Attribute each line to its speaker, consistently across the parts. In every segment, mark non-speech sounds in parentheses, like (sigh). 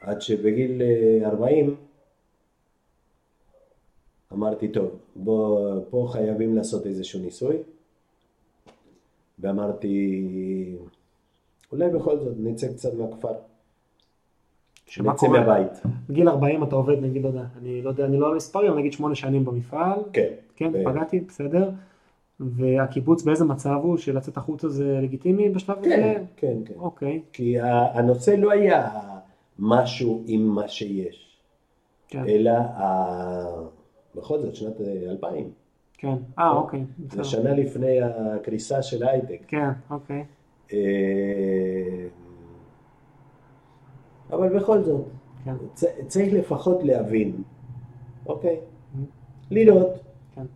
Speaker 1: עד שבגיל אה, 40 אמרתי, טוב, בוא, פה חייבים לעשות איזשהו ניסוי. ואמרתי, אולי בכל זאת נצא קצת מהכפר.
Speaker 2: שמה
Speaker 1: נצא
Speaker 2: קורה?
Speaker 1: מהבית.
Speaker 2: בגיל 40 אתה עובד, נגיד, לא יודע, אני לא יודע, אני לא על מספרים, אבל נגיד 8 שנים במפעל,
Speaker 1: כן.
Speaker 2: כן,
Speaker 1: ו-
Speaker 2: פגעתי, בסדר, והקיבוץ באיזה מצב הוא, שלצאת החוצה זה לגיטימי בשלב הזה?
Speaker 1: כן, כן, כן.
Speaker 2: אוקיי,
Speaker 1: כי ה- הנושא לא היה משהו עם מה שיש,
Speaker 2: כן,
Speaker 1: אלא ה- בכל זאת שנת אה, 2000.
Speaker 2: כן, אה, אוקיי,
Speaker 1: זה
Speaker 2: בסדר,
Speaker 1: שנה לפני הקריסה של ההייטק.
Speaker 2: כן, אוקיי,
Speaker 1: אה, אבל בכל זאת,
Speaker 2: כן,
Speaker 1: צ- צריך לפחות להבין, אוקיי?
Speaker 2: Mm.
Speaker 1: לראות.
Speaker 2: כן.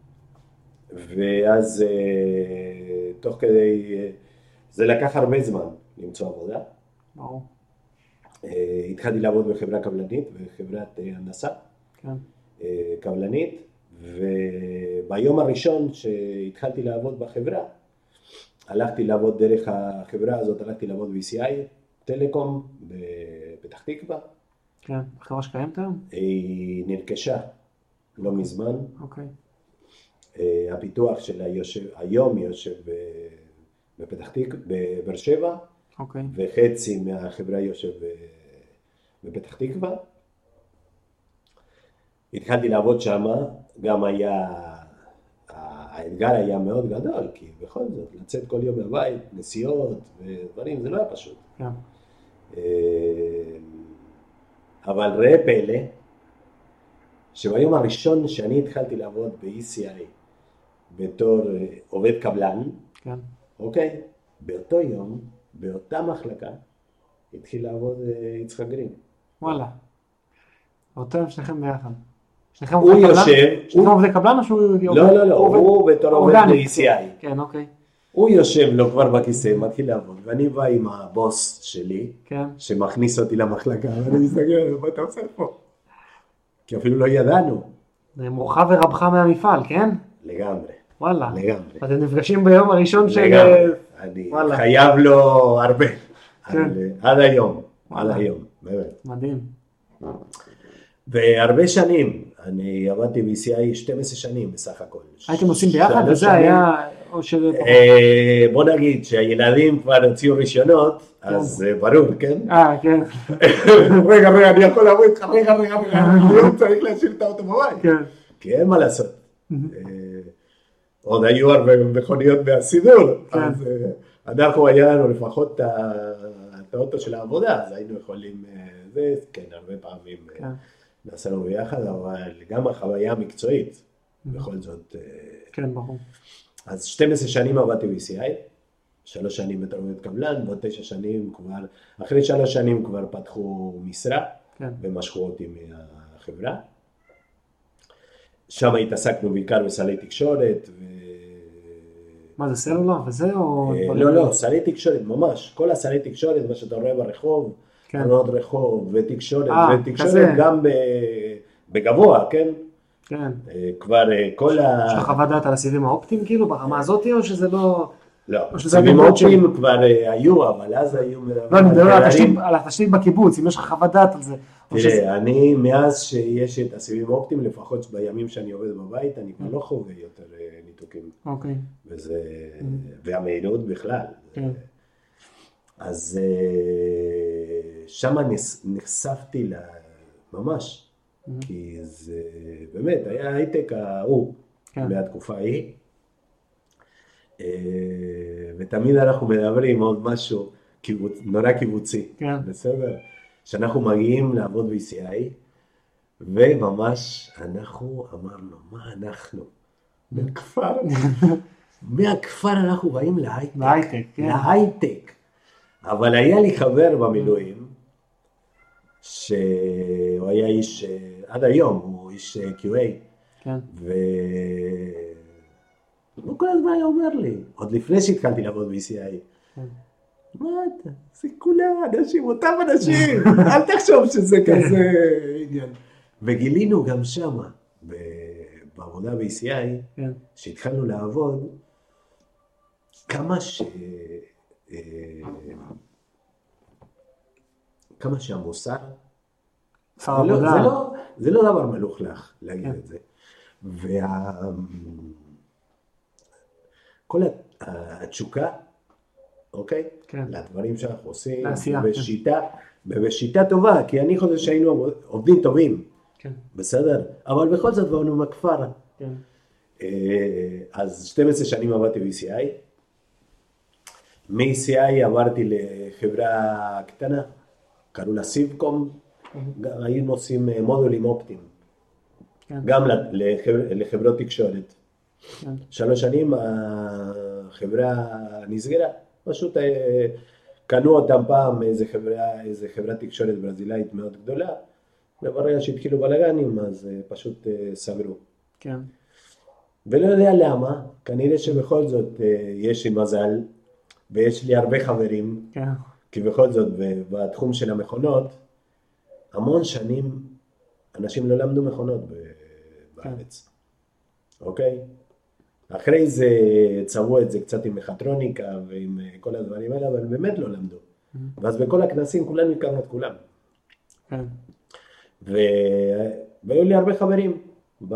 Speaker 1: ואז אה, תוך כדי, אה, זה לקח הרבה זמן למצוא עבודה.
Speaker 2: ברור,
Speaker 1: אה, התחלתי לעבוד בחברה קבלנית, בחברת אה, הנדסה
Speaker 2: כן,
Speaker 1: אה, קבלנית, וביום הראשון שהתחלתי לעבוד בחברה, הלכתי לעבוד דרך החברה הזאת, הלכתי לעבוד ב-VCI, טלקום בפתח תקווה,
Speaker 2: כן, חברה שקיימת היום?
Speaker 1: היא נרכשה לא מזמן,
Speaker 2: אוקיי,
Speaker 1: אה, הפיתוח שלה יושב, היום יושב ב- בפתח תקווה, בבאר שבע,
Speaker 2: אוקיי,
Speaker 1: וחצי מהחברה יושב ב- בפתח תקווה. התחלתי לעבוד שמה, גם היה, האתגר היה מאוד גדול, כי בכל זאת, לצאת כל יום מהבית, נסיעות ודברים, זה לא היה פשוט.
Speaker 2: כן,
Speaker 1: אה, אבל ראה פלא, שביום הראשון שאני התחלתי לעבוד ב-ECI בתור אה, עובד קבלן,
Speaker 2: כן,
Speaker 1: אוקיי? באותו יום, באותה מחלקה, התחיל לעבוד אה, יצחק גרין.
Speaker 2: וואלה, אותו עם שניכם ביחד, שניכם
Speaker 1: הוא
Speaker 2: עובדי קבלן?
Speaker 1: יושב,
Speaker 2: שניכם
Speaker 1: הוא-
Speaker 2: עובדי קבלן או שהוא
Speaker 1: לא, לא, לא,
Speaker 2: לא- עובד-
Speaker 1: הוא בתור עובד
Speaker 2: אורגני,
Speaker 1: ב-ECI.
Speaker 2: כן, אוקיי,
Speaker 1: הוא יושב לו כבר בכיסא, מתחיל לעבוד, ואני בא עם הבוס שלי,
Speaker 2: כן,
Speaker 1: שמכניס אותי למחלקה, ואני מסתכל עליו, מה אתה עושה פה? כי אפילו לא ידענו,
Speaker 2: זה מורך ורבך מהמפעל, כן?
Speaker 1: לגמרי,
Speaker 2: וואלה.
Speaker 1: לגמרי.
Speaker 2: אתם נפגשים ביום הראשון של...
Speaker 1: לגמרי, אני
Speaker 2: וואלה.
Speaker 1: חייב לו הרבה,
Speaker 2: כן.
Speaker 1: על- עד היום, עד
Speaker 2: וואלה.
Speaker 1: היום, באמת.
Speaker 2: אה, מדהים.
Speaker 1: והרבה שנים, אני עבדתי ב-CI 12 שנים בסך הכל.
Speaker 2: הייתם עושים ביחד
Speaker 1: שלוש
Speaker 2: וזה
Speaker 1: שנים.
Speaker 2: היה... או ש...
Speaker 1: אה, בוא נגיד שהילדים כבר הוציאו רישיונות, אז אה, ברור, כן?
Speaker 2: אה, כן,
Speaker 1: (laughs) רגע, רגע, אני יכול לבוא איתך, רגע, רגע, רגע, היום צריך להשאיר את האוטו בבית.
Speaker 2: כן.
Speaker 1: כי אין מה לעשות. אה, עוד היו הרבה מכוניות מהסידור,
Speaker 2: כן.
Speaker 1: אז אה, אנחנו היה לנו לפחות את ה- את האוטו של העבודה, אז היינו יכולים, אה, זה, כן, הרבה פעמים אה,
Speaker 2: כן.
Speaker 1: נסענו ביחד, אבל גם החוויה המקצועית,
Speaker 2: Mm-hmm.
Speaker 1: בכל זאת. אה,
Speaker 2: כן, ברור.
Speaker 1: אז 12 שנים עבדתי ב-ECI, שלוש שנים בתרבות קבלן, ועוד תשע שנים כבר, אחרי שלוש שנים כבר פתחו משרה.
Speaker 2: כן,
Speaker 1: ומשכו אותי מהחברה. אה, שם התעסקנו בעיקר בסלי תקשורת. ו...
Speaker 2: מה זה סלולר וזה או...
Speaker 1: אה,
Speaker 2: דברים-
Speaker 1: לא, לא, סלי תקשורת, ממש. כל הסלי תקשורת, מה שאתה רואה ברחוב,
Speaker 2: כן.
Speaker 1: תלונות רחוב ותקשורת,
Speaker 2: אה,
Speaker 1: ותקשורת
Speaker 2: כזה.
Speaker 1: גם ב... בגבוה, כן?
Speaker 2: כן.
Speaker 1: אה, כבר אה, כל ה...
Speaker 2: יש לך חוות דעת על הסיבים האופטיים כאילו
Speaker 1: אה.
Speaker 2: ברמה הזאתי או שזה לא...
Speaker 1: לא,
Speaker 2: או שזה
Speaker 1: סיבים
Speaker 2: הגבוה
Speaker 1: אופטיים כבר אה, היו, אבל אז היו...
Speaker 2: לא, אני מדבר על
Speaker 1: מרחבים.
Speaker 2: התשתית- על התשתית בקיבוץ, אם יש לך חוות דעת על זה.
Speaker 1: אה,
Speaker 2: או שזה-
Speaker 1: תראה, אני מאז שיש את הסיבים האופטיים, לפחות בימים שאני עובד בבית, אני כבר לא חווה יותר אה, ניתוקים.
Speaker 2: אוקיי,
Speaker 1: וזה,
Speaker 2: Mm.
Speaker 1: והמהירות בכלל.
Speaker 2: כן.
Speaker 1: אז אה, שם נחשפתי ל... ממש,
Speaker 2: Mm.
Speaker 1: כי זה באמת היה ההייטק ההוא
Speaker 2: כן.
Speaker 1: מהתקופה ההיא. אה, ותמיד אנחנו מדברים עוד משהו קיבוצ... נורא קיבוצי,
Speaker 2: כן.
Speaker 1: בסדר? שאנחנו מגיעים לעבוד ב-ECI, וממש אנחנו אמרנו, מה אנחנו? מהכפר? מהכפר אנחנו באים להייטק.
Speaker 2: בהייטק, כן.
Speaker 1: אה. להייטק. אבל היה לי חבר במילואים, שהוא היה איש, אה, עד היום הוא איש אה, QA,
Speaker 2: כן,
Speaker 1: והוא כל הזמן היה אומר לי, עוד לפני שהתחלתי לעבוד ב-ECI,
Speaker 2: כן.
Speaker 1: מה אתה, זה כולם אנשים, אותם אנשים, אל תחשוב שזה כזה עניין. וגילינו גם שמה, ב- בעבודה ב-ECI,
Speaker 2: כן,
Speaker 1: כשהתחלנו לעבוד, כמה ש... אה, כמה שהמוסר
Speaker 2: שר
Speaker 1: זה לא-
Speaker 2: העבודה.
Speaker 1: זה לא- זה לא דבר מלוכלך להגיד
Speaker 2: כן.
Speaker 1: את זה. וה... כל הת- התשוקה, אוקיי?
Speaker 2: כן.
Speaker 1: לדברים שאנחנו עושים,
Speaker 2: לעשייה, כן.
Speaker 1: בשיטה, ובשיטה טובה, כי אני חושב שהיינו עובדים טובים,
Speaker 2: כן,
Speaker 1: בסדר? אבל בכל זאת באנו מהכפר.
Speaker 2: כן.
Speaker 1: אה, אז 12 שנים עבדתי ב-ECI. מ-ECI עברתי לחברה קטנה, קראו לה סיבקום, גם היינו עושים אה, מודולים אופטיים,
Speaker 2: כן,
Speaker 1: גם לח- לחבר- לחברות תקשורת.
Speaker 2: כן.
Speaker 1: שלוש שנים החברה נסגרה, פשוט אה, קנו אותם פעם איזה חברה, איזה חברת תקשורת ברזילאית מאוד גדולה, וברגע שהתחילו בלאגנים אז אה, פשוט אה, סגרו.
Speaker 2: כן.
Speaker 1: ולא יודע למה, כנראה שבכל זאת אה, יש לי מזל, ויש לי הרבה חברים,
Speaker 2: כן.
Speaker 1: כי בכל זאת ב- בתחום של המכונות, המון שנים אנשים לא למדו מכונות ב- בארץ, אוקיי? אחרי זה צבעו את זה קצת עם מכטרוניקה ועם אה, כל הדברים האלה, אבל באמת לא למדו. ואז בכל הכנסים כולנו הכרנו את כולם.
Speaker 2: כן.
Speaker 1: ו... והיו לי הרבה חברים ב...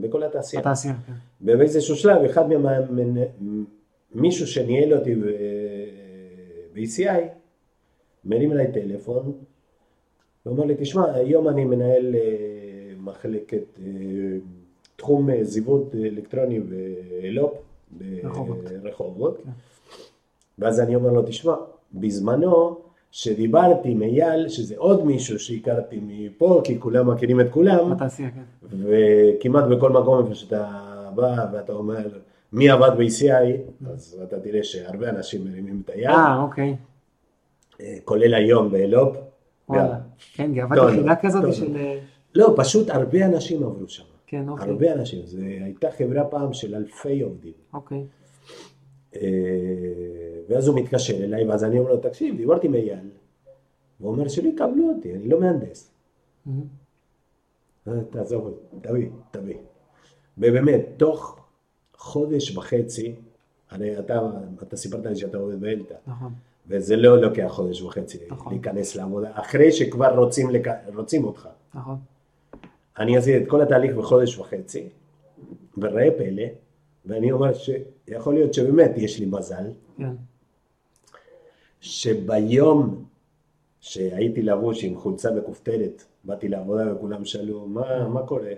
Speaker 1: בכל התעשייה.
Speaker 2: בתעשייה, כן.
Speaker 1: ובאיזשהו שלב, אחד מה... מנ- מישהו שניהל אותי ב... ב-ECI, מרים אליי טלפון, ואומר לי, תשמע, היום אני מנהל אה, מחלקת, אה, תחום אה, זיווד אלקטרוני באלופ,
Speaker 2: רחובות.
Speaker 1: ברחובות,
Speaker 2: כן.
Speaker 1: ואז אני אומר לו, תשמע, בזמנו, שדיברתי עם אייל, שזה עוד מישהו שהכרתי מפה, כי כולם מכירים את כולם,
Speaker 2: בתעשייה, כן.
Speaker 1: וכמעט בכל מקום איפה שאתה בא ואתה אומר מי עבד ב-ECI, אז אתה תראה שהרבה אנשים מרימים את היד,
Speaker 2: אה, אוקיי.
Speaker 1: אה, כולל היום באלופ.
Speaker 2: וואלה.
Speaker 1: גם.
Speaker 2: כן, גאוות
Speaker 1: טוב,
Speaker 2: יחידה
Speaker 1: טוב.
Speaker 2: כזאת של... אה,
Speaker 1: לא, פשוט הרבה אנשים עברו שם,
Speaker 2: כן, אוקיי.
Speaker 1: הרבה אנשים, זו הייתה חברה פעם של אלפי עובדים.
Speaker 2: אוקיי.
Speaker 1: אה, ואז הוא מתקשר אליי, ואז אני אומר לו, תקשיב, דיברתי עם אייל, הוא אומר שלא יקבלו אותי, אני לא מהנדס.
Speaker 2: מהמם.
Speaker 1: אה, תעזוב אותי, תביא, תביא. ובאמת, תוך חודש וחצי, הרי אתה, אתה סיפרת לי שאתה עובד באלתא,
Speaker 2: נכון.
Speaker 1: וזה לא לוקח חודש וחצי
Speaker 2: נכון.
Speaker 1: להיכנס לעבודה, אחרי שכבר רוצים, לק... רוצים אותך.
Speaker 2: נכון.
Speaker 1: אני עשיתי את כל התהליך בחודש וחצי, וראה פלא, ואני אומר שיכול להיות שבאמת יש לי מזל,
Speaker 2: כן.
Speaker 1: שביום שהייתי לבוש עם חולצה וכופתרת, באתי לעבודה וכולם שאלו, מה, מה קורה?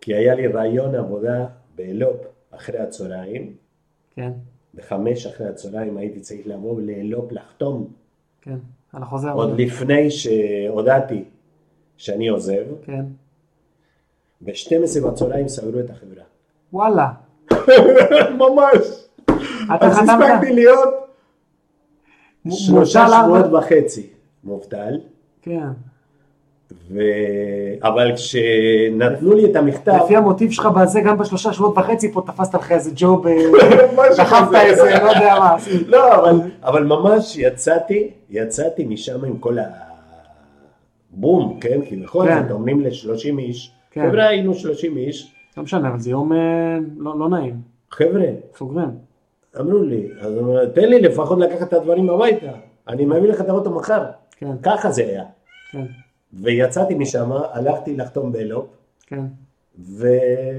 Speaker 1: כי היה לי רעיון עבודה באלופ אחרי הצהריים,
Speaker 2: כן.
Speaker 1: בחמש אחרי הצהריים הייתי צריך לבוא לאלופ לחתום,
Speaker 2: כן. על החוזה.
Speaker 1: עוד
Speaker 2: העבודה.
Speaker 1: לפני שהודעתי שאני עוזב,
Speaker 2: כן.
Speaker 1: ב-12 בצהריים סגרו את החברה. (laughs)
Speaker 2: וואלה.
Speaker 1: ממש!
Speaker 2: אתה
Speaker 1: אז הספקתי
Speaker 2: חתמת.
Speaker 1: להיות
Speaker 2: מ-
Speaker 1: שלושה
Speaker 2: מובטל ארבע-
Speaker 1: שבועות וחצי מובטל.
Speaker 2: כן.
Speaker 1: ו... אבל כשנתנו לי את המכתב,
Speaker 2: לפי המוטיב שלך בזה, גם בשלושה שבועות וחצי פה תפסת לך איזה
Speaker 1: (laughs)
Speaker 2: ג'וב, אה,
Speaker 1: משהו
Speaker 2: דחפת
Speaker 1: כזה.
Speaker 2: איזה, לא יודע מה. עשית.
Speaker 1: לא, אבל, אבל ממש יצאתי, יצאתי משם עם כל הבום, כן? כי בכל
Speaker 2: כן.
Speaker 1: זאת אומרים ל-30 איש,
Speaker 2: כן.
Speaker 1: חבר'ה היינו 30 איש,
Speaker 2: לא משנה, אבל זה יום אה, לא לא נעים.
Speaker 1: חבר'ה,
Speaker 2: סוגרים.
Speaker 1: אמרו לי, אז אמר, תן לי לפחות לקחת את הדברים הביתה, אני מביא לך את האוטו מחר,
Speaker 2: כן,
Speaker 1: ככה זה היה.
Speaker 2: כן,
Speaker 1: ויצאתי משם, הלכתי לחתום בלופ,
Speaker 2: כן.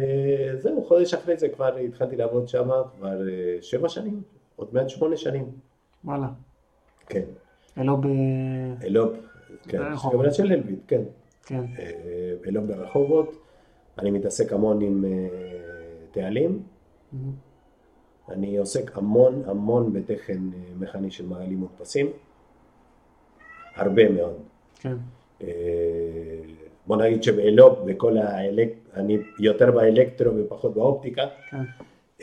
Speaker 1: וזהו, חודש אחרי זה כבר התחלתי לעבוד שם כבר אה, שבע שנים, עוד מעט שמונה שנים.
Speaker 2: וואלה.
Speaker 1: כן,
Speaker 2: אלו ב...
Speaker 1: אלופ, כן,
Speaker 2: ברחובות.
Speaker 1: חברה של אלביט, כן.
Speaker 2: כן,
Speaker 1: אה, ולא ברחובות. אני מתעסק המון עם אה, תעלים.
Speaker 2: מהמם.
Speaker 1: אני עוסק המון המון בתכן אה, מכני של מעלים מודפסים. הרבה מאוד.
Speaker 2: כן,
Speaker 1: אה, בוא נגיד שבאלופ, בכל האלק... אני יותר באלקטרו ופחות באופטיקה,
Speaker 2: כן,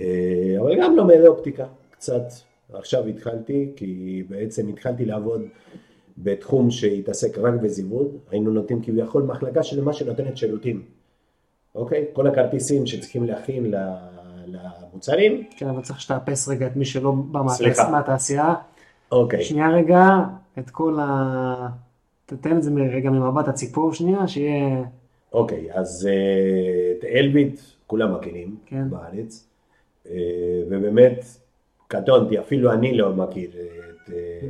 Speaker 1: אה, אבל גם לומד אופטיקה, קצת. עכשיו התחלתי, כי בעצם התחלתי לעבוד בתחום שהתעסק רק בזיווד, היינו נותנים כביכול מחלקה שלמה שנותנת שירותים. אוקיי? כל הכרטיסים שצריכים להכין ל- למוצרים.
Speaker 2: כן, אבל צריך שתאפס רגע את מי שלא בא מהתעש-
Speaker 1: סליחה.
Speaker 2: מהתעשייה.
Speaker 1: אוקיי.
Speaker 2: שנייה רגע, את כל ה... תתן את זה רגע ממבט הציפור שנייה, שיהיה...
Speaker 1: אוקיי, אז אה, את אלביט כולם מכירים
Speaker 2: כן.
Speaker 1: בארץ, אה, ובאמת קטונתי, אפילו אני לא מכיר את... אה,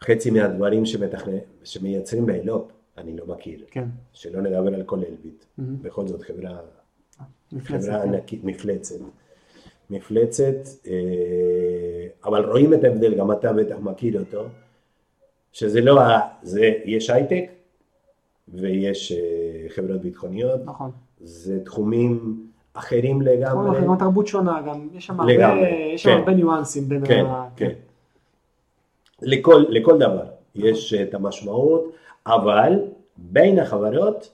Speaker 1: חצי מהדברים שמתכנן, שמייצרים באלו"ט, אני לא מכיר.
Speaker 2: כן.
Speaker 1: שלא נדבר על כל אלביט.
Speaker 2: Mhm.
Speaker 1: בכל זאת, חברה
Speaker 2: מפלצת,
Speaker 1: חברה
Speaker 2: כן.
Speaker 1: ענקית, מפלצת. מפלצת, אה, אבל רואים את ההבדל, גם אתה בטח מכיר אותו, שזה לא, ה- זה, יש הייטק ויש אה, חברות ביטחוניות,
Speaker 2: נכון.
Speaker 1: זה תחומים אחרים
Speaker 2: נכון,
Speaker 1: לגמרי.
Speaker 2: אנחנו גם תרבות שונה, גם יש שם הרבה,
Speaker 1: אה, לגמרי,
Speaker 2: יש שם
Speaker 1: כן.
Speaker 2: הרבה ניואנסים בין
Speaker 1: כן,
Speaker 2: ה...
Speaker 1: כן. לכל, לכל דבר יש אה, את המשמעות, אבל בין החברות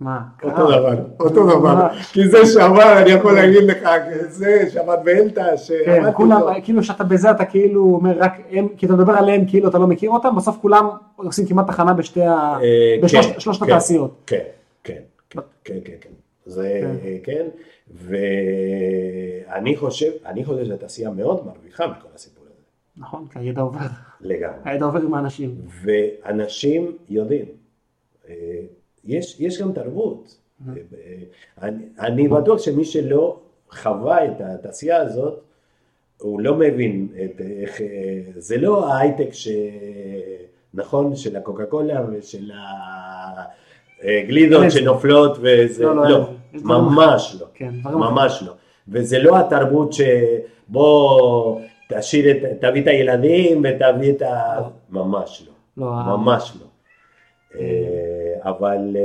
Speaker 2: מה?
Speaker 1: אותו דבר, אותו
Speaker 2: אה.
Speaker 1: דבר, כי זה שעבר, אני יכול להגיד לך, זה שעבד באלתא,
Speaker 2: כן,
Speaker 1: שעבדתי
Speaker 2: כולם,
Speaker 1: איתו.
Speaker 2: כאילו שאתה בזה אתה כאילו אומר רק הם, כי אתה מדבר עליהם כאילו אתה לא מכיר אותם, בסוף כולם עושים כמעט תחנה בשתי ה...
Speaker 1: אה, כן,
Speaker 2: בשלושת
Speaker 1: כן.
Speaker 2: התעשיות.
Speaker 1: כן, כן, כן, כן, כן, כן. זה
Speaker 2: כן.
Speaker 1: אה, כן, ואני חושב, אני חושב שהתעשייה מאוד מרוויחה מכל הסיפור הזה,
Speaker 2: נכון, כי הידע עובר,
Speaker 1: לגמרי.
Speaker 2: הידע עובר עם האנשים.
Speaker 1: ואנשים יודעים, אה, יש, יש גם תרבות. אה, אה, אני, אני בטוח שמי שלא חווה את התעשייה הזאת, הוא לא מבין את איך, אה, זה לא ההייטק ש... נכון, של הקוקה קולה ושל הגלידות
Speaker 2: כן.
Speaker 1: שנופלות וזה,
Speaker 2: לא, לא,
Speaker 1: לא,
Speaker 2: יש דברים
Speaker 1: ממש לא.
Speaker 2: כן, דברים
Speaker 1: ממש לא. וזה לא התרבות שבוא תשאיר את, תביא את הילדים ותביא את ה...
Speaker 2: לא.
Speaker 1: ממש לא,
Speaker 2: לא, ה-
Speaker 1: ממש לא. אה, אבל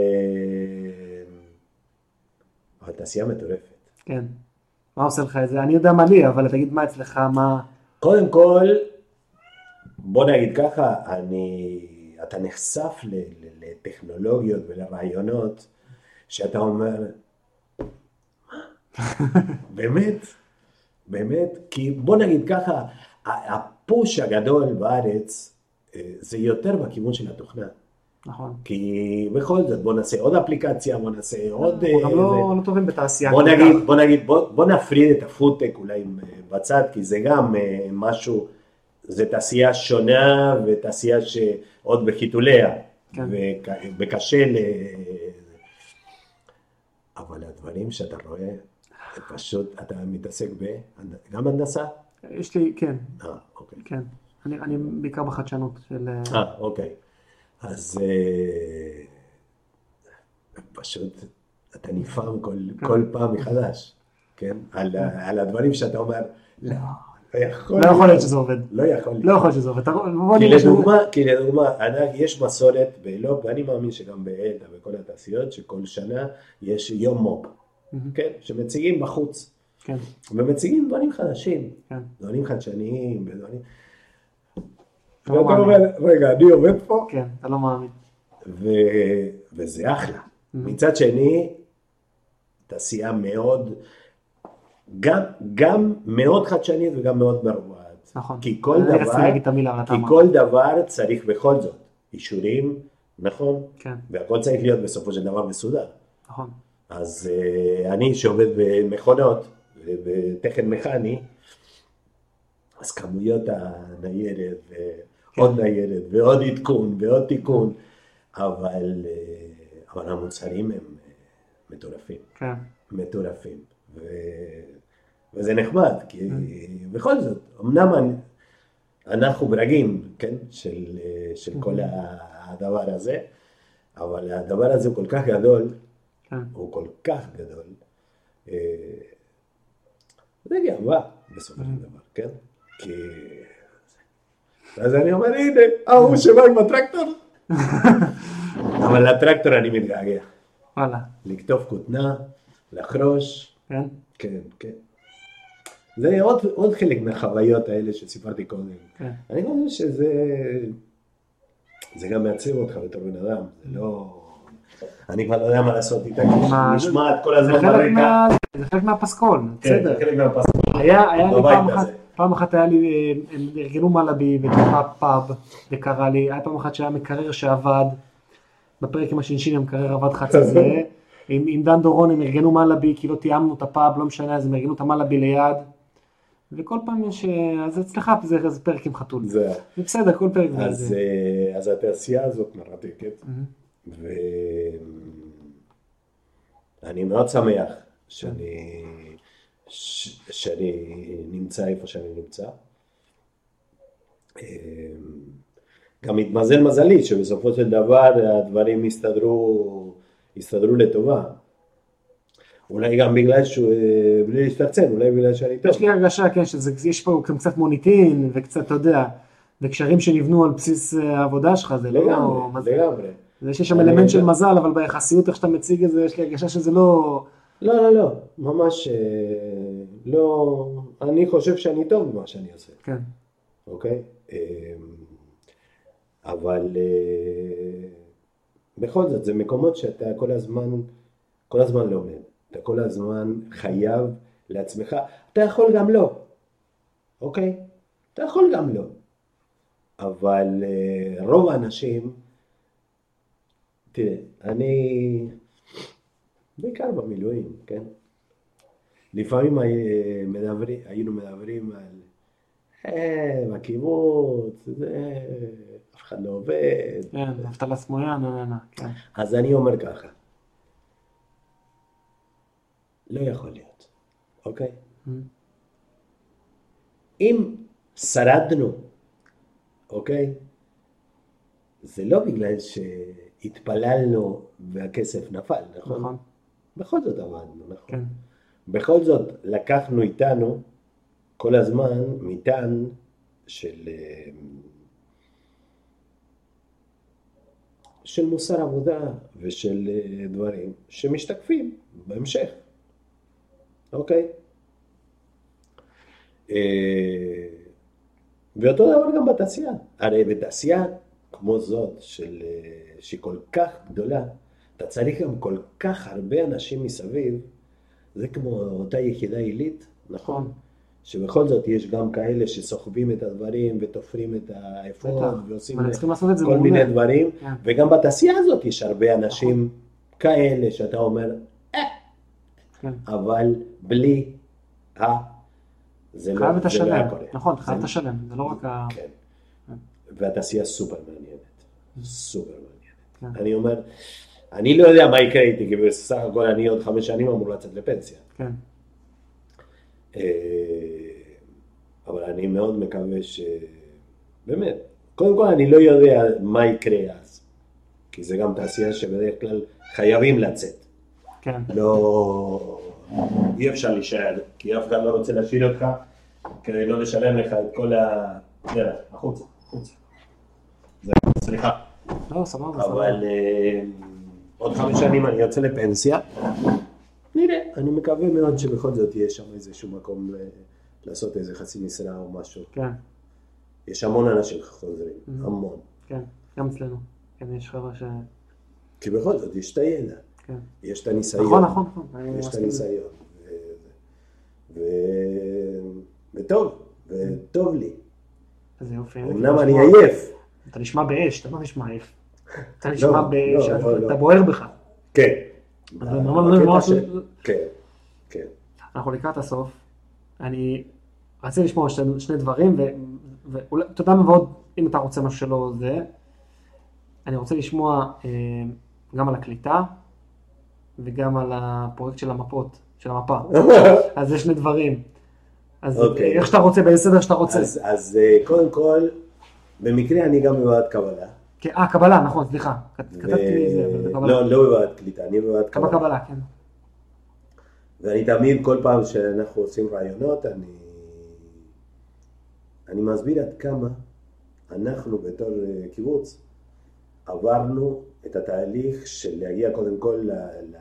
Speaker 1: אה, התעשייה מטורפת.
Speaker 2: כן. מה עושה לך את זה? אני יודע מה לי, אבל תגיד מה אצלך, מה...
Speaker 1: קודם כל, בוא נגיד ככה, אני, אתה נחשף ל, ל, לטכנולוגיות ולרעיונות שאתה אומר, "מה? באמת, באמת, כי בוא נגיד ככה, ה- הפוש הגדול בארץ אה, זה יותר בכיוון של התוכנה,
Speaker 2: נכון.
Speaker 1: כי בכל זאת בוא נעשה עוד אפליקציה, בוא נעשה עוד...
Speaker 2: אנחנו גם
Speaker 1: אה, זה.
Speaker 2: לא- לא טובים בתעשייה.
Speaker 1: בוא
Speaker 2: כל
Speaker 1: נגיד,
Speaker 2: כך.
Speaker 1: בוא נגיד, בוא, בוא נפריד את הפודטק אולי אה, בצד, כי זה גם אה, משהו, זה תעשייה שונה ותעשייה שעוד בחיתוליה,
Speaker 2: כן.
Speaker 1: וכ, וקשה ל... אבל הדברים שאתה רואה, זה פשוט אתה מתעסק ב... גם הנדסה?
Speaker 2: יש לי, כן,
Speaker 1: אה, אוקיי.
Speaker 2: כן. אני- אני בעיקר בחדשנות של... אה,
Speaker 1: אה, אוקיי. אז אה, פשוט אתה נפעם כל,
Speaker 2: כן.
Speaker 1: כל פעם מחדש, כן? על, ה- על הדברים שאתה אומר, לא, לא יכול
Speaker 2: לא יכול להיות שזה עובד.
Speaker 1: לא יכול להיות.
Speaker 2: לא יכול להיות שזה עובד. אתה- בוא
Speaker 1: כי
Speaker 2: נראה שזה-
Speaker 1: לדוגמה, כי לדוגמה, אני- יש מסורת באלו"ט, ואני מאמין שגם באלתא וכל התעשיות, שכל שנה יש יום מו"פ,
Speaker 2: מהמם.
Speaker 1: כן? שמציגים בחוץ,
Speaker 2: כן,
Speaker 1: ומציגים דברים חדשים,
Speaker 2: כן.
Speaker 1: דברים חדשניים, ודברים...
Speaker 2: אתה לא
Speaker 1: ואתה
Speaker 2: מאמין.
Speaker 1: אומר, רגע, אני עובד פה?
Speaker 2: כן, אתה לא מאמין.
Speaker 1: ו... וזה אחלה. מצד שני, תעשייה מאוד, גם, גם מאוד חדשנית וגם מאוד מרוועת.
Speaker 2: נכון.
Speaker 1: כי כל
Speaker 2: אני רציתי
Speaker 1: דבר,
Speaker 2: להגיד את המילה, אבל אתה
Speaker 1: כי
Speaker 2: אמרת.
Speaker 1: כל דבר צריך בכל זאת אישורים, נכון?
Speaker 2: כן,
Speaker 1: והכל צריך להיות בסופו של דבר מסודר.
Speaker 2: נכון.
Speaker 1: אז uh, אני שעובד במכונות, בתכן מכני, אז כמויות הניירת,
Speaker 2: כן.
Speaker 1: ועוד ניירת, ועוד עדכון, ועוד תיקון, אבל, uh, אבל המוצרים הם אה, מטורפים,
Speaker 2: כן,
Speaker 1: מטורפים. ו... וזה נחמד, כי בכל זאת, אמנם אני- אנחנו ברגים, כן, של, אה, של כל הדבר הזה, אבל הדבר הזה הוא כל כך גדול,
Speaker 2: כן.
Speaker 1: הוא כל כך גדול. אה, זה גאווה בסופו של דבר, כן? כי... אז אני אומר, הנה, ההוא שבא עם הטרקטור. אבל לטרקטור אני מתגעגע.
Speaker 2: וואלה.
Speaker 1: לקטוף כותנה, לחרוש,
Speaker 2: כן?
Speaker 1: כן, כן. זה עוד, עוד חלק מהחוויות האלה שסיפרתי קודם.
Speaker 2: כן.
Speaker 1: אני חושב שזה... זה גם מעצב אותך בתור בן אדם, זה לא... אני כבר לא יודע מה לעשות איתה, כי יש
Speaker 2: מה-
Speaker 1: לי משמעת כל
Speaker 2: זה
Speaker 1: הזמן
Speaker 2: חלק
Speaker 1: ברקע.
Speaker 2: מה- זה חלק מהפסקול,
Speaker 1: כן, זה
Speaker 2: בסדר.
Speaker 1: חלק מהפסקול.
Speaker 2: היה, היה לי
Speaker 1: בבית
Speaker 2: פעם אחת,
Speaker 1: הזה.
Speaker 2: פעם אחת היה לי, אה, הם ארגנו מלאבי וקרה פאב, וקרה לי, היה פעם אחת שהיה מקרר שעבד, בפרק עם השינשין המקרר עבד חצי
Speaker 1: (laughs)
Speaker 2: זה, עם, עם דן דורון הם ארגנו מלאבי, כי לא תיאמנו את הפאב, לא משנה, אז הם ארגנו את המלאבי ליד, וכל פעם יש, אה, אז אצלך זה, זה פרק עם חתול, זה
Speaker 1: זה-
Speaker 2: בסדר, כל פרק זה,
Speaker 1: אז,
Speaker 2: זה.
Speaker 1: אה, אז התעשייה הזאת מרתקת,
Speaker 2: מהמם.
Speaker 1: ואני מאוד שמח שאני, ש- שאני נמצא איפה שאני נמצא, אה, גם התמזל מזלי שבסופו של דבר הדברים הסתדרו, הסתדרו לטובה. אולי גם בגלל שהוא, אה, בלי להשתרצן, אולי בגלל שאני טוב.
Speaker 2: יש לי הרגשה, כן, שיש פה גם קצת מוניטין, וקצת, אתה יודע, וקשרים שנבנו על בסיס אה, העבודה שלך, זה לא...
Speaker 1: לגמרי, לגמרי.
Speaker 2: זה שיש שם
Speaker 1: אני
Speaker 2: אלמנט של
Speaker 1: יודע.
Speaker 2: מזל, אבל ביחסיות, איך שאתה מציג את זה, יש לי הרגשה שזה לא...
Speaker 1: לא, לא, לא, ממש אה, לא, אני חושב שאני טוב במה שאני עושה,
Speaker 2: כן,
Speaker 1: אוקיי? אה, אבל אה, בכל זאת, זה מקומות שאתה כל הזמן, כל הזמן לומד, אתה כל הזמן חייב לעצמך, אתה יכול גם לא, אוקיי? אתה יכול גם לא, אבל אה, רוב האנשים, תראה, אני בעיקר במילואים, כן? לפעמים אה, מדברים, היינו מדברים על אה, בקיבוץ, זה, אף אחד לא עובד.
Speaker 2: כן, אבטלה סמויה, נה נה נה, כן.
Speaker 1: אז אני אומר ככה, לא יכול להיות, אוקיי? אם שרדנו, אוקיי? זה לא בגלל שהתפללנו והכסף נפל, נכון?
Speaker 2: נכון,
Speaker 1: בכל זאת עבדנו, נכון?
Speaker 2: כן,
Speaker 1: בכל זאת, לקחנו איתנו כל הזמן מטען של, אה, של מוסר עבודה ושל אה, דברים שמשתקפים בהמשך, אוקיי? אה, ואותו דבר גם בתעשייה. הרי בתעשייה כמו זאת, של, אה, שהיא כל כך גדולה, אתה צריך גם כל כך הרבה אנשים מסביב, זה כמו אותה יחידה עילית, נכון?
Speaker 2: נכון.
Speaker 1: שבכל זאת יש גם כאלה שסוחבים את הדברים ותופרים את האפור
Speaker 2: בטח.
Speaker 1: ועושים
Speaker 2: אבל צריכים לעשות את זה
Speaker 1: כל
Speaker 2: מעולה.
Speaker 1: מיני דברים,
Speaker 2: כן.
Speaker 1: וגם בתעשייה הזאת יש הרבה אנשים כאלה שאתה אומר,
Speaker 2: כן.
Speaker 1: אבל בלי ה... זה לא
Speaker 2: חייב את
Speaker 1: זה לא
Speaker 2: השלם,
Speaker 1: היה קורה.
Speaker 2: נכון, אתה חייב
Speaker 1: זה-
Speaker 2: את השלם, זה לא רק ה...
Speaker 1: כן. והתעשייה סופר מעניינת.
Speaker 2: Mm.
Speaker 1: סופר מעניינת.
Speaker 2: כן.
Speaker 1: אני אומר, אני לא יודע מה יקרה איתי, כי בסך הכל אני עוד חמש שנים אמור לצאת לפנסיה.
Speaker 2: כן,
Speaker 1: אה, אבל אני מאוד מקווה ש... באמת, קודם כל אני לא יודע מה יקרה אז. כי זה גם תעשייה שבדרך כלל חייבים לצאת.
Speaker 2: כן,
Speaker 1: לא... אי אפשר להישאר, כי אף אחד לא רוצה להשאיר אותך כדי לא לשלם לך את כל ה... יאללה, החוצה, החוצה. זה- סליחה.
Speaker 2: לא, סבבה, סבבה.
Speaker 1: אבל אה, עוד חמש שנים אני יוצא לפנסיה. נראה, אני מקווה מאוד שבכל זאת יהיה שם איזשהו מקום אה, לעשות איזה חצי משרה או משהו.
Speaker 2: כן,
Speaker 1: יש המון אנשים חוזרים,
Speaker 2: Mhm.
Speaker 1: המון.
Speaker 2: כן, גם אצלנו. כן, יש חברה ש...
Speaker 1: כי בכל זאת יש את הידע,
Speaker 2: כן.
Speaker 1: יש את הניסיון.
Speaker 2: נכון, נכון, נכון. אני
Speaker 1: יש את
Speaker 2: מסכים.
Speaker 1: הניסיון. ו- ו- וטוב, וטוב לי.
Speaker 2: איזה יופי. איזה
Speaker 1: אמנם
Speaker 2: כיף
Speaker 1: אני
Speaker 2: לשמוע.
Speaker 1: עייף.
Speaker 2: אתה נשמע באש, אתה לא נשמע עייף. אתה נשמע באש,
Speaker 1: לא, לא,
Speaker 2: אתה
Speaker 1: לא.
Speaker 2: בוער בך.
Speaker 1: כן.
Speaker 2: אבל אמרנו,
Speaker 1: בקטע
Speaker 2: אמרנו-
Speaker 1: של- כן, כן.
Speaker 2: אנחנו לקראת הסוף. אני רציתי לשמוע שני, שני דברים, ו- ואולי, אתה יודע מה, ועוד, אם אתה רוצה משהו שלא זה, אני רוצה לשמוע אה, גם על הקליטה, וגם על הפרויקט של המפות, של המפה. אז זה שני דברים. אז
Speaker 1: אוקיי.
Speaker 2: okay. איך שאתה רוצה, באיזה סדר שאתה רוצה.
Speaker 1: אז, אז אה, קודם כל, במקרה אני גם בוועדת קבלה.
Speaker 2: כן, אה, קבלה, נכון, סליחה. כת- כתבתי לי את זה, אבל זה
Speaker 1: ו-
Speaker 2: קבלה.
Speaker 1: אה, לא, לא בוועדת קליטה, אני בוועדת
Speaker 2: כמה
Speaker 1: קבלה.
Speaker 2: קבלה, כן.
Speaker 1: ואני תמיד, כל פעם שאנחנו עושים רעיונות, אני, אני מסביר עד כמה אנחנו בתור אה, קיבוץ עברנו את התהליך של להגיע קודם כל ל, ל,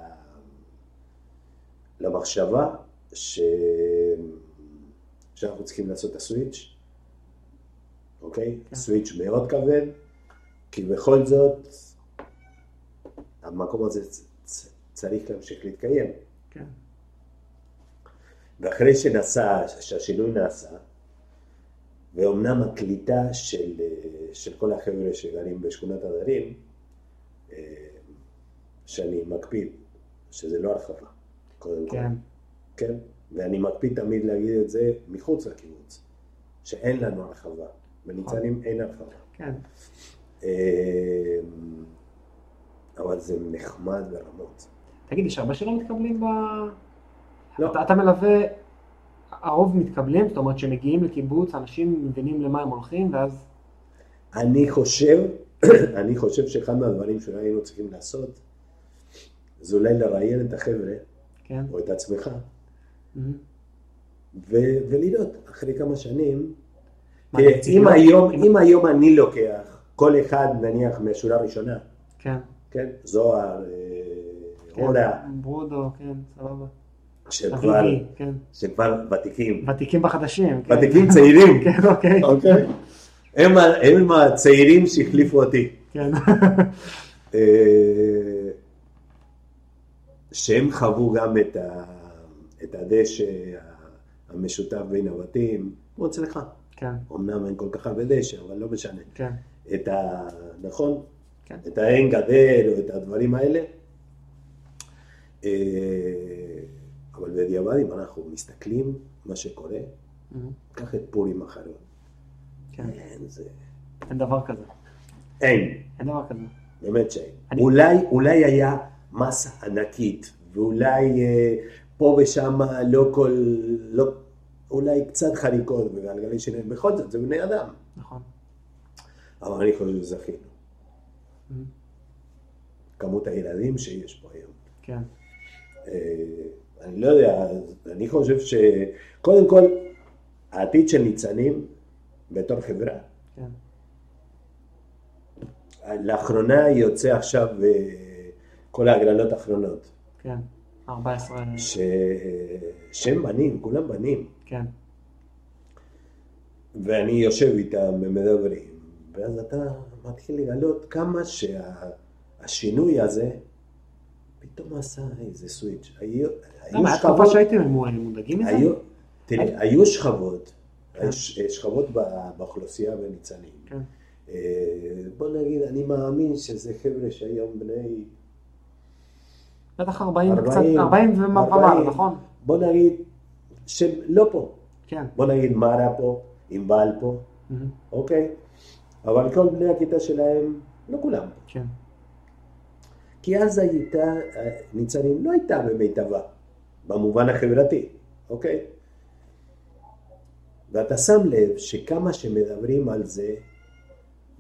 Speaker 1: למחשבה ש, שאנחנו צריכים לעשות את הסוויץ', אוקיי?
Speaker 2: כן.
Speaker 1: סוויץ' מאוד כבד, כי בכל זאת המקום הזה צ, צ, צריך להמשיך להתקיים.
Speaker 2: כן.
Speaker 1: ואחרי שנעשה, שהשינוי נעשה, ואומנם הקליטה של, אה, של כל החבר'ה שגרים בשכונת הדרים, אה, שאני מקפיד, שזה לא הרחבה, קודם כל,
Speaker 2: כן.
Speaker 1: כן? ואני מקפיד תמיד להגיד את זה מחוץ לקיבוץ, שאין לנו הרחבה, בניצנים אין הרחבה.
Speaker 2: כן.
Speaker 1: אה, אבל זה נחמד ברמות.
Speaker 2: תגיד, יש הרבה שלא מתקבלים ב...
Speaker 1: לא.
Speaker 2: אתה, אתה מלווה הרוב מתקבלים, זאת אומרת שמגיעים לקיבוץ, אנשים מבינים למה הם הולכים, ואז
Speaker 1: אני חושב, (clears throat) אני חושב שאחד מהדברים שהיינו צריכים לעשות, זה אולי לראיין את החבר'ה,
Speaker 2: כן.
Speaker 1: או את עצמך,
Speaker 2: מהמם.
Speaker 1: ו- ולראות אחרי כמה שנים,
Speaker 2: מה,
Speaker 1: תראה,
Speaker 2: נציג
Speaker 1: אם
Speaker 2: לא-
Speaker 1: היום, אם היום אני לוקח כל אחד נניח מהשורה הראשונה,
Speaker 2: כן.
Speaker 1: כן, זוהר, אה,
Speaker 2: כן.
Speaker 1: אורה,
Speaker 2: ברודו, כן, סבבה.
Speaker 1: שכבר,
Speaker 2: אביבי, כן.
Speaker 1: שכבר ותיקים,
Speaker 2: ותיקים בחדשים. כן.
Speaker 1: ותיקים צעירים,
Speaker 2: (laughs) כן, אוקיי.
Speaker 1: אוקיי, הם ה- הם הצעירים שהחליפו אותי,
Speaker 2: כן. (laughs)
Speaker 1: אה, שהם חוו גם את, ה, את הדשא המשותף בין הבתים, כמו אצלך,
Speaker 2: כן,
Speaker 1: אמנם אין כל כך הרבה דשא, אבל לא משנה,
Speaker 2: כן.
Speaker 1: את ה... נכון?
Speaker 2: כן.
Speaker 1: את האין גדר או את הדברים האלה. אה, אבל בדיעבד, אם אנחנו מסתכלים מה שקורה,
Speaker 2: מהמם.
Speaker 1: קח את פורים האחרון.
Speaker 2: כן.
Speaker 1: אין זה...
Speaker 2: אין דבר כזה.
Speaker 1: אין,
Speaker 2: אין דבר כזה.
Speaker 1: באמת שאין.
Speaker 2: אני-
Speaker 1: אולי, אולי היה מסה ענקית, ואולי אה, פה ושם לא כל... לא, אולי קצת חריקות וגלגלי שיניים, בכל זאת, זה בני אדם.
Speaker 2: נכון.
Speaker 1: אבל אני חושב שזכינו.
Speaker 2: מהמם.
Speaker 1: כמות הילדים שיש פה היום.
Speaker 2: כן.
Speaker 1: אה, אני לא יודע, אני חושב ש... קודם כל, העתיד של ניצנים בתור חברה.
Speaker 2: כן.
Speaker 1: לאחרונה יוצא עכשיו אה, כל ההגרלות האחרונות,
Speaker 2: כן. 14.
Speaker 1: ש... אה, שהם בנים, כולם בנים,
Speaker 2: כן.
Speaker 1: ואני יושב איתם ומדברים, ואז אתה מתחיל לגלות כמה שהשינוי שה... הזה פתאום עשה איזה סוויץ'. היו, היו
Speaker 2: למה, היה תקופה שהייתם מ- מודאגים מזה?
Speaker 1: היו, תראה, היו שכבות, היו ש- אה, שכבות ב- באוכלוסייה בניצנים.
Speaker 2: כן.
Speaker 1: אה, בוא נגיד, אני מאמין שזה חבר'ה שהיום בני,
Speaker 2: בטח 40 וקצת,
Speaker 1: 40,
Speaker 2: 40 ומעלה,
Speaker 1: 40.
Speaker 2: נכון?
Speaker 1: בוא נגיד, שלא פה.
Speaker 2: כן.
Speaker 1: בוא נגיד מרה פה, ענבל פה,
Speaker 2: מהמם.
Speaker 1: אוקיי? אבל כל בני הכיתה שלהם, לא כולם.
Speaker 2: כן.
Speaker 1: כי אז הייתה, אה, ניצנים לא הייתה במיטבה, במובן החברתי, אוקיי? ואתה שם לב שכמה שמדברים על זה,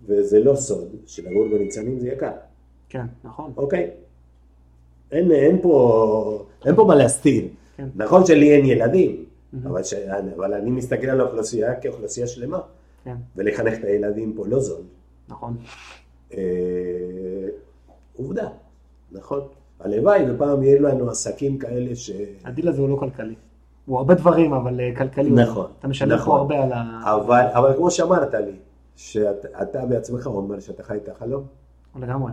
Speaker 1: וזה לא סוד, שלגור בניצנים זה יקר,
Speaker 2: כן. נכון.
Speaker 1: אוקיי? אין, אין, פה, אין פה מה להסתיר.
Speaker 2: כן. Mhm.
Speaker 1: נכון שלי אין ילדים,
Speaker 2: מהמם.
Speaker 1: אבל, ש, אבל אני מסתכל על האוכלוסייה כאוכלוסייה שלמה,
Speaker 2: כן.
Speaker 1: ולחנך את הילדים פה לא זול.
Speaker 2: נכון.
Speaker 1: אה, עובדה, נכון? הלוואי ופעם יהיו לנו עסקים כאלה ש...
Speaker 2: הדיל הזה הוא לא כלכלי. הוא הרבה דברים, אבל אה, כלכלי. הוא-
Speaker 1: נכון,
Speaker 2: אתה משלם
Speaker 1: נכון.
Speaker 2: פה הרבה על ה...
Speaker 1: אבל, אבל כמו שאמרת לי, שאתה בעצמך אומר שאתה חי את החלום,
Speaker 2: לגמרי.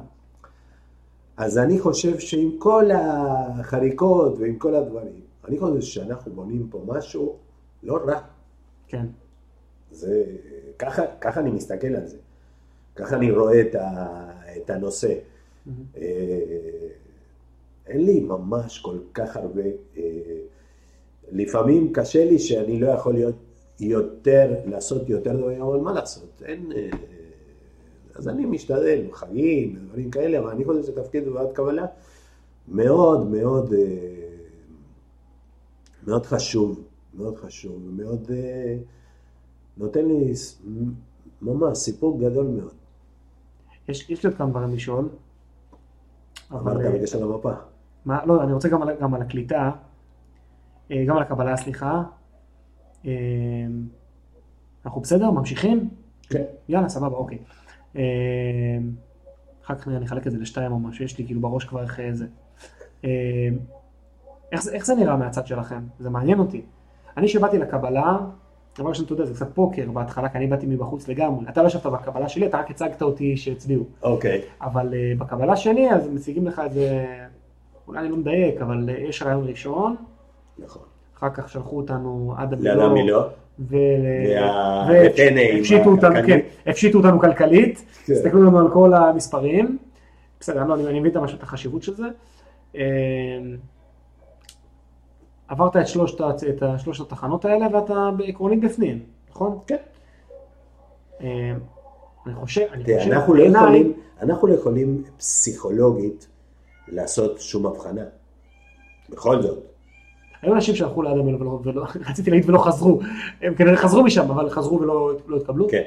Speaker 1: אז אני חושב שעם כל החריקות ועם כל הדברים, אני חושב שאנחנו בונים פה משהו לא רע.
Speaker 2: כן.
Speaker 1: זה, ככה, ככה אני מסתכל על זה. ככה אני רואה את, ה, את הנושא.
Speaker 2: מהמם.
Speaker 1: אה, אין לי ממש כל כך הרבה, אה, לפעמים קשה לי שאני לא יכול להיות יותר, לעשות יותר דברים, אבל מה לעשות, אין, אה, אז אני משתדל, חגים, דברים כאלה, אבל אני חושב שתפקיד בוועדת קבלה מאוד מאוד, אה, מאוד חשוב, מאוד חשוב, מאוד אה, נותן לי ס- ממש סיפור גדול מאוד,
Speaker 2: יש יש לי עוד כמה דברים לשאול. אבל...
Speaker 1: אמרת
Speaker 2: אה,
Speaker 1: בקשר למפה.
Speaker 2: מה, לא, אני רוצה גם על, גם על הקליטה, אה, גם על הקבלה, סליחה. אה, אנחנו בסדר? ממשיכים?
Speaker 1: כן.
Speaker 2: יאללה, סבבה, אוקיי. אה, אחר כך נראה, אני אחלק את זה לשתיים או משהו, יש לי כאילו בראש כבר איך אה, זה. אה, איך, זה- איך זה נראה מהצד שלכם? זה מעניין אותי. אני שבאתי לקבלה, דבר ראשון, אתה יודע, זה קצת פוקר בהתחלה, כי אני באתי מבחוץ לגמרי. אתה לא ישבת בקבלה שלי, אתה רק הצגת אותי שהצביעו.
Speaker 1: אוקיי.
Speaker 2: אבל אה, בקבלה שלי, אז מציגים לך איזה, אולי אני לא מדייק, אבל אה, יש רעיון ראשון,
Speaker 1: נכון.
Speaker 2: אחר כך שלחו אותנו עד
Speaker 1: לאדם
Speaker 2: המילון,
Speaker 1: מילוא.
Speaker 2: ו...
Speaker 1: אה, וה- וטנא עם
Speaker 2: והפשיטו אותנו, כן,
Speaker 1: הכלכלית.
Speaker 2: הפשיטו אותנו כלכלית,
Speaker 1: כן.
Speaker 2: הסתכלו לנו על כל המספרים, בסדר, לא, אני אני מבין את המשהו- את החשיבות של זה. אה, עברת את שלושת ה- את ה- שלושת התחנות האלה ואתה עקרונית בפנים, נכון?
Speaker 1: כן.
Speaker 2: אה, אני חושב, אני
Speaker 1: תראה,
Speaker 2: חושב,
Speaker 1: אנחנו לא
Speaker 2: בעיניי-
Speaker 1: יכולים, אנחנו לא יכולים פסיכולוגית לעשות שום הבחנה. בכל זאת.
Speaker 2: היו אנשים שהלכו ליד המלך ולא, ולא, רציתי להגיד ולא חזרו, הם כנראה חזרו משם, אבל חזרו ולא לא התקבלו.
Speaker 1: כן.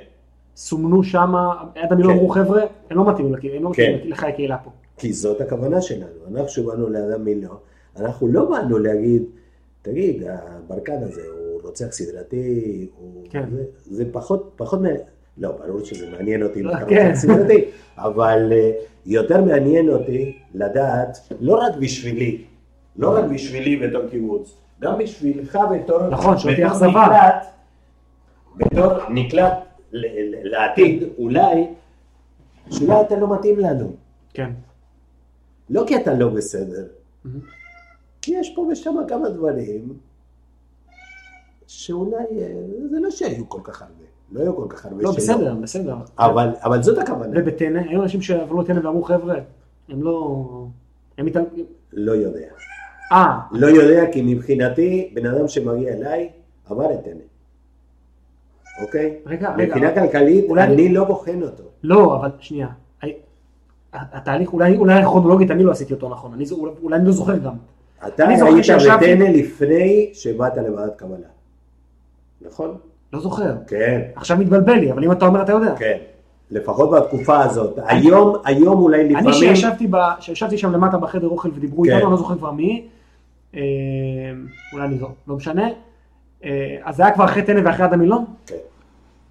Speaker 2: סומנו שם, ליד המלך
Speaker 1: כן.
Speaker 2: אמרו חבר'ה, הם לא מתאימים לקהילה, הם לא
Speaker 1: כן.
Speaker 2: מתאימים לחיי הקהילה פה.
Speaker 1: כי זאת הכוונה שלנו. אנחנו באנו לאדם מיליון, אנחנו לא באנו להגיד, תגיד, הברקן הזה הוא רוצח סדרתי, הוא...
Speaker 2: כן.
Speaker 1: זה, זה פחות, פחות מ... לא, ברור שזה מעניין אותי אם אתה
Speaker 2: כן.
Speaker 1: רוצח סדרתי, אבל אה, יותר מעניין אותי לדעת, לא רק בשבילי, לא רק בשבילי בתור קיבוץ, גם בשבילך בתור...
Speaker 2: נכון, שלא תהיה
Speaker 1: בתור
Speaker 2: אכזבה.
Speaker 1: נקלט, בתור נקלט ל- ל- לעתיד, אולי, שאולי אתה לא מתאים לנו.
Speaker 2: כן.
Speaker 1: לא כי אתה לא בסדר, כי יש פה ושם כמה דברים שאולי, אה, זה לא שהיו כל כך הרבה, לא היו כל כך הרבה
Speaker 2: לא,
Speaker 1: שלא.
Speaker 2: בסדר, בסדר.
Speaker 1: אבל, אבל זאת הכוונה,
Speaker 2: ובטנא, היו אנשים שעברו לטנא ואמרו חבר'ה, הם לא... הם איתם...
Speaker 1: לא יודע.
Speaker 2: אה,
Speaker 1: לא יודע כי מבחינתי, בן אדם שמגיע אליי, עבר את עיני. אוקיי?
Speaker 2: רגע, רגע.
Speaker 1: מבחינה כלכלית,
Speaker 2: אולי-
Speaker 1: אני לא בוחן אותו.
Speaker 2: לא, אבל שנייה. הי- התהליך, אולי אולי כרונולוגית אני לא עשיתי אותו נכון, אני זו- אולי- אולי אני לא זוכר גם.
Speaker 1: אתה
Speaker 2: אני זוכר
Speaker 1: היית
Speaker 2: שישבתי-
Speaker 1: בטנא לפני שבאת לוועדת קבלה. נכון?
Speaker 2: לא זוכר.
Speaker 1: כן.
Speaker 2: עכשיו מתבלבל לי, אבל אם אתה אומר אתה יודע.
Speaker 1: כן, לפחות בתקופה הזאת. היום, היום אולי
Speaker 2: אני
Speaker 1: לפעמים...
Speaker 2: שישבתי ב- שישבתי שם למטה בחדר אוכל ודיברו
Speaker 1: כן.
Speaker 2: איתנו, אני לא זוכר כבר מי, אה, אולי אני זו- לא משנה. אה, אז זה היה כבר אחרי טנא ואחרי עד המילון?
Speaker 1: כן.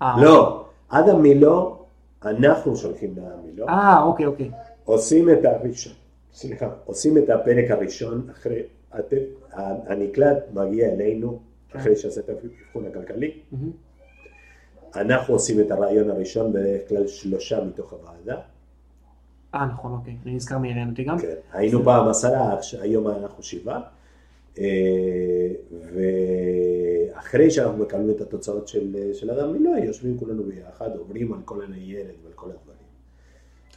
Speaker 2: אה.
Speaker 1: לא, עד המילו, אנחנו שולחים למילו,
Speaker 2: אה, אוקיי, אוקיי.
Speaker 1: עושים את הראשון, סליחה, עושים את הפרק הראשון אחרי, הת- ה- הנקלט מגיע אלינו,
Speaker 2: כן.
Speaker 1: אחרי שעשה את האבחון הכלכלי,
Speaker 2: מהמם.
Speaker 1: אנחנו עושים את הרעיון הראשון, בדרך כלל שלושה מתוך הוועדה,
Speaker 2: אה, נכון, אוקיי. אני נזכר מי הראיין אותי גם.
Speaker 1: כן, היינו פעם עשרה, עכש- היום אנחנו שבעה. אה, ואחרי שאנחנו מקבלים את התוצאות של, אה, של אדם מילואה, יושבים כולנו ביחד, עוברים על כל הניירת ועל כל הדברים.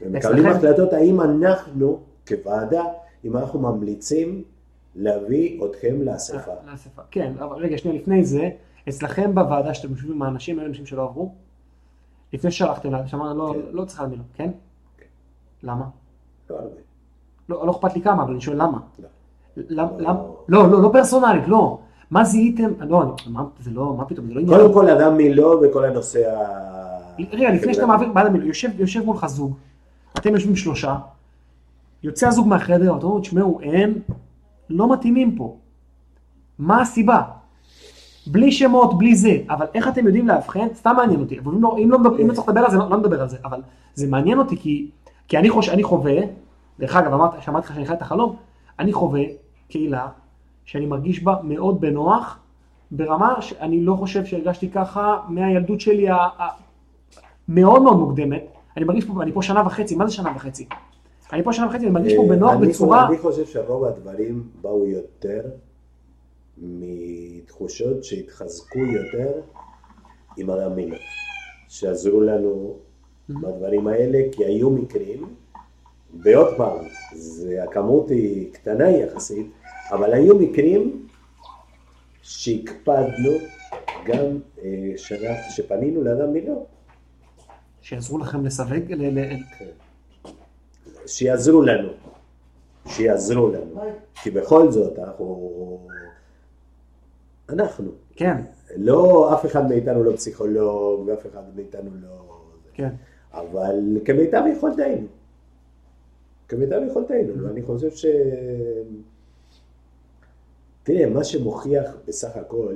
Speaker 1: ומקבלים
Speaker 2: אצלכם?
Speaker 1: החלטות האם אנחנו, כוועדה, אם אנחנו ממליצים להביא אתכם לאספה.
Speaker 2: אה, לאספה. כן, אבל רגע, שנייה, לפני זה, אצלכם בוועדה שאתם יושבים עם האנשים, היו אנשים שלא עברו? לפני ששלחתם, לה- שאמרנו, לא,
Speaker 1: כן.
Speaker 2: לא צריך להאמין לו, כן? למה?
Speaker 1: לא הרבה.
Speaker 2: לא, לא אכפת לי כמה, אבל אני שואל למה.
Speaker 1: לא.
Speaker 2: למ- למ- לא, לא, לא פרסונלית, לא. מה זיהיתם? לא, אני- מה- זה לא, מה פתאום, זה לא עניין.
Speaker 1: קודם כל, אדם מילואה וכל הנושא ה...
Speaker 2: רגע, לפני
Speaker 1: כן.
Speaker 2: שאתה מעביר, בעל המילואים, יושב, יושב מולך זוג, אתם יושבים שלושה, יוצא הזוג מהחדר, ואתה אומר, תשמעו, הם לא מתאימים פה. מה הסיבה? בלי שמות, בלי זה, אבל איך אתם יודעים לאבחן? סתם מעניין אותי. אבל אם לא, אם לא, מדבר- אם לא צריך לדבר על זה, לא, לא נדבר על זה, אבל זה מעניין אותי כי, כי אני, חוש, אני חווה, דרך אגב, אמרת, שמעתי לך שאני חי את החלום, אני חווה קהילה שאני מרגיש בה מאוד בנוח, ברמה שאני לא חושב שהרגשתי ככה מהילדות שלי ה- ה- מאוד מאוד מוקדמת. אני מרגיש פה, אני פה שנה וחצי, מה זה שנה וחצי? אני פה שנה וחצי, אני מרגיש פה בנוח
Speaker 1: אה, אני
Speaker 2: בצורה...
Speaker 1: חושב- אני חושב שרוב הדברים באו יותר מתחושות שהתחזקו יותר עם הרמינה, שעזרו לנו
Speaker 2: Mm-hmm.
Speaker 1: בדברים האלה, כי היו מקרים, ועוד פעם, זה, הכמות היא קטנה יחסית, אבל היו מקרים שהקפדנו גם אה, שנה, שפנינו לאדם מילון.
Speaker 2: שיעזרו לכם לסווג, ל- ל-
Speaker 1: שיעזרו לנו, שיעזרו לנו, כי בכל זאת אנחנו, אנחנו,
Speaker 2: כן,
Speaker 1: לא, אף אחד מאיתנו לא פסיכולוג, ואף אחד מאיתנו לא,
Speaker 2: כן.
Speaker 1: אבל כמיטב יכולתנו, כמיטב יכולתנו, ואני חושב ש... תראה, מה שמוכיח בסך הכל,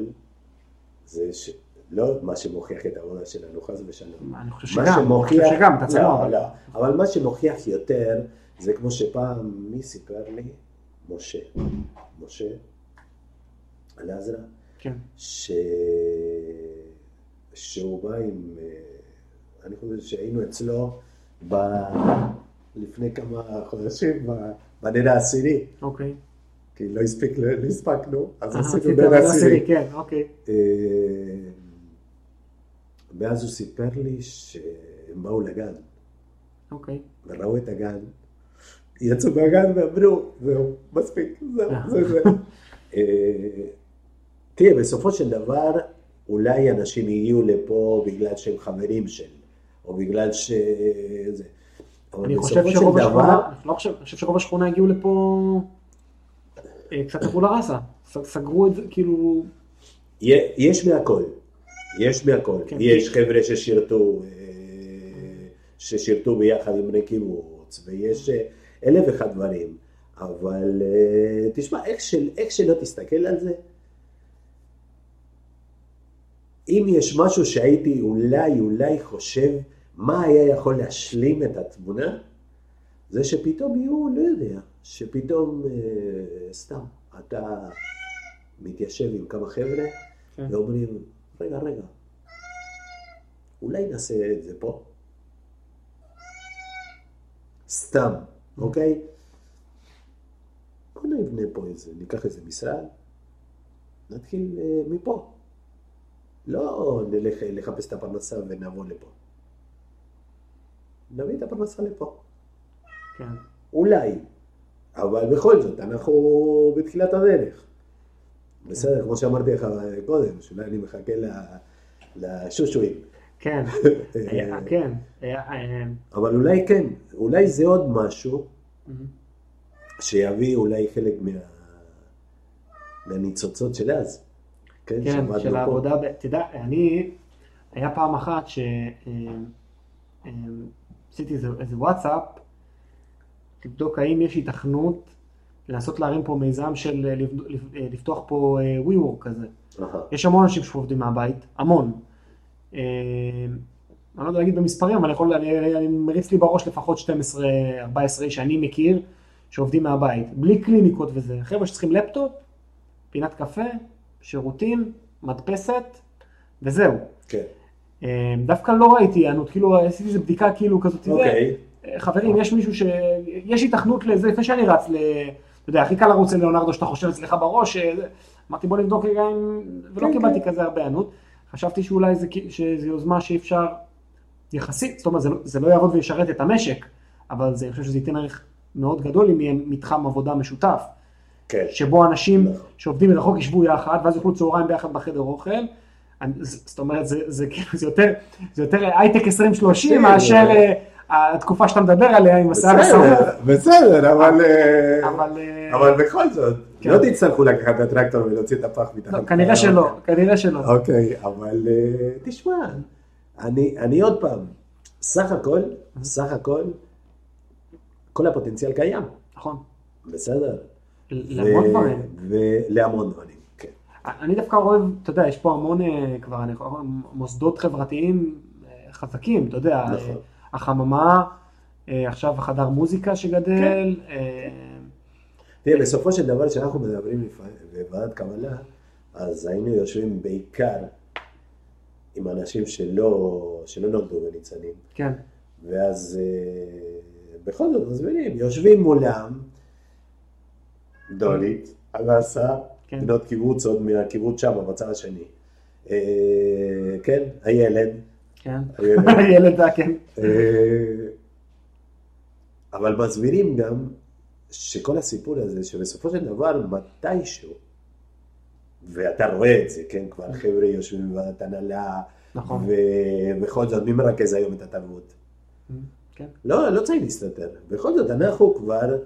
Speaker 1: זה ש... לא מה שמוכיח את העבודה שלנו, חס ושלום.
Speaker 2: אני חושב
Speaker 1: מה
Speaker 2: שגם, אני
Speaker 1: שמוכיח,
Speaker 2: חושב שגם, אתה צנוע.
Speaker 1: לא, לא, אבל מה שמוכיח יותר, זה כמו שפעם, מי סיפר לי? משה. משה, על עזרא,
Speaker 2: כן,
Speaker 1: ש... שהוא בא עם, אה, אני חושב שהיינו אצלו ב... לפני כמה חודשים, ב- בנר העשירי,
Speaker 2: אוקיי.
Speaker 1: כי לא, הספיק, לא הספקנו, אז
Speaker 2: אה,
Speaker 1: עשינו
Speaker 2: עשית
Speaker 1: נר
Speaker 2: עבודה
Speaker 1: העשירי.
Speaker 2: עשירית, כן, אוקיי.
Speaker 1: אה, ואז הוא סיפר לי שהם באו לגן,
Speaker 2: אוקיי.
Speaker 1: וראו את הגן, יצאו מהגן ואמרו, זהו, מספיק, זהו, זה זה. אה, תראה, בסופו של דבר, אולי אנשים הגיעו לפה בגלל שהם חברים של, או בגלל ש... זה. אבל
Speaker 2: אני חושב
Speaker 1: בסופו של
Speaker 2: שרוב
Speaker 1: דבר,
Speaker 2: השכונה, אני לא חושב- אני חושב שרוב השכונה הגיעו לפה אה, קצת הלכו לרסה, ס- סגרו את זה, כאילו,
Speaker 1: יה- יש מהכל, יש מהכל.
Speaker 2: כן.
Speaker 1: יש חבר'ה ששירתו, אה, ששירתו ביחד עם בני קיבוץ, ויש אה, אלף ואחד דברים. אבל אה, תשמע, איך, של, איך שלא תסתכל על זה, אם יש משהו שהייתי אולי, אולי חושב, מה היה יכול להשלים את התמונה, זה שפתאום יהיו, לא יודע, שפתאום, אה, סתם, אתה מתיישב עם כמה חבר'ה,
Speaker 2: כן.
Speaker 1: ואומרים, רגע, רגע, אולי נעשה את זה פה? סתם, אוקיי? בוא נבנה פה איזה, ניקח איזה משרד, נתחיל אה, מפה. לא נלך אה, לחפש את הפרנסה ונבוא לפה. נביא את הפרנסה לפה.
Speaker 2: כן,
Speaker 1: אולי, אבל בכל זאת, אנחנו בתחילת הדרך. בסדר, כמו שאמרתי לך קודם, שאולי אני מחכה ל- לשושואים. (laughs)
Speaker 2: כן, היה, כן, היה, אה,
Speaker 1: אה, אבל אולי כן, אולי זה עוד משהו
Speaker 2: אה,
Speaker 1: שיביא אולי חלק מה... מהניצוצות של אז. כן,
Speaker 2: כן,
Speaker 1: שעבדנו
Speaker 2: של
Speaker 1: פה.
Speaker 2: העבודה, ב- תדע, אני, היה פעם אחת שעשיתי איזה איזה וואטסאפ, לבדוק האם יש היתכנות לנסות להרים פה מיזם של אה, לבד- לפ- אה, לפתוח פה WeWork כזה.
Speaker 1: אהה,
Speaker 2: יש המון אנשים שעובדים מהבית, המון. אה, אני לא יודע להגיד במספרים, אבל אני יכול, אני, אני מריץ לי בראש לפחות 12-14 איש שאני מכיר, שעובדים מהבית, בלי קליניקות וזה. חבר'ה שצריכים לפטופ, פינת קפה, שירותים, מדפסת, וזהו.
Speaker 1: כן,
Speaker 2: אה, דווקא לא ראיתי היענות, כאילו עשיתי איזה בדיקה כאילו כזאת, זה,
Speaker 1: אוקיי,
Speaker 2: חברים, יש מישהו ש... יש היתכנות לזה, לפני שאני רץ ל... אתה יודע, הכי קל לרוץ ללאונרדו שאתה חושב אצלך בראש, אה, זה- אמרתי בוא נבדוק רגע אם... ולא
Speaker 1: כן,
Speaker 2: קיבלתי
Speaker 1: כן.
Speaker 2: כזה הרבה ענות. חשבתי שאולי זה כי- שזו יוזמה שאי אפשר יחסית, זאת אומרת, זה לא- זה לא יעבוד וישרת את המשק, אבל זה- אני חושב שזה ייתן ערך מאוד גדול אם יהיה מתחם עבודה משותף,
Speaker 1: כן,
Speaker 2: שבו אנשים
Speaker 1: נכון.
Speaker 2: שעובדים מרחוק ישבו יחד, ואז יאכלו צהריים ביחד בחדר אוכל. אני- ז- זאת אומרת, זה- זה כאילו, זה יותר- זה יותר הייטק 2030
Speaker 1: בסדר.
Speaker 2: מאשר אה, התקופה שאתה מדבר עליה עם השיער הסרוף.
Speaker 1: בסדר, בסדר, אבל... אה,
Speaker 2: אבל אה,
Speaker 1: אבל בכל זאת,
Speaker 2: כן.
Speaker 1: לא תצטרכו לקחת את הטרקטור ולהוציא את הפח מתחת.
Speaker 2: לא, כנראה
Speaker 1: לפניה.
Speaker 2: שלא, כנראה שלא.
Speaker 1: אוקיי, אבל אה, תשמע, אני, אני עוד פעם, סך הכל, סך הכל, כל הפוטנציאל קיים,
Speaker 2: נכון.
Speaker 1: בסדר?
Speaker 2: להמון
Speaker 1: ו-
Speaker 2: דברים.
Speaker 1: ולהמון דברים, כן.
Speaker 2: אני דווקא אוהב, אתה יודע, יש פה המון אה, כבר אני, יכול- מוסדות חברתיים אה, חזקים, אתה יודע,
Speaker 1: נכון.
Speaker 2: אה, החממה, אה, עכשיו החדר מוזיקה שגדל,
Speaker 1: כן.
Speaker 2: אה,
Speaker 1: תראה, בסופו של דבר, כשאנחנו מדברים לפ- בוועדת קבלה, אז היינו יושבים בעיקר עם אנשים שלא, שלא נולדו בניצנים.
Speaker 2: כן,
Speaker 1: ואז אה, בכל זאת מזמינים, יושבים מולם, דולית, הדסה,
Speaker 2: כן.
Speaker 1: בנות קיבוץ, עוד מהקיבוץ שם, בצד השני. אה, כן, הילד,
Speaker 2: כן. (laughs)
Speaker 1: הילד. (laughs)
Speaker 2: ילד זה כן.
Speaker 1: אה, אבל מסבירים גם שכל הסיפור הזה, שבסופו של דבר, מתישהו, ואתה רואה את זה, כן, כבר חבר'ה יושבים בוועדת הנהלה,
Speaker 2: נכון.
Speaker 1: ובכל זאת, מי מרכז היום את התרבות?
Speaker 2: כן.
Speaker 1: לא, לא צריך להסתתר. בכל זאת, אנחנו כבר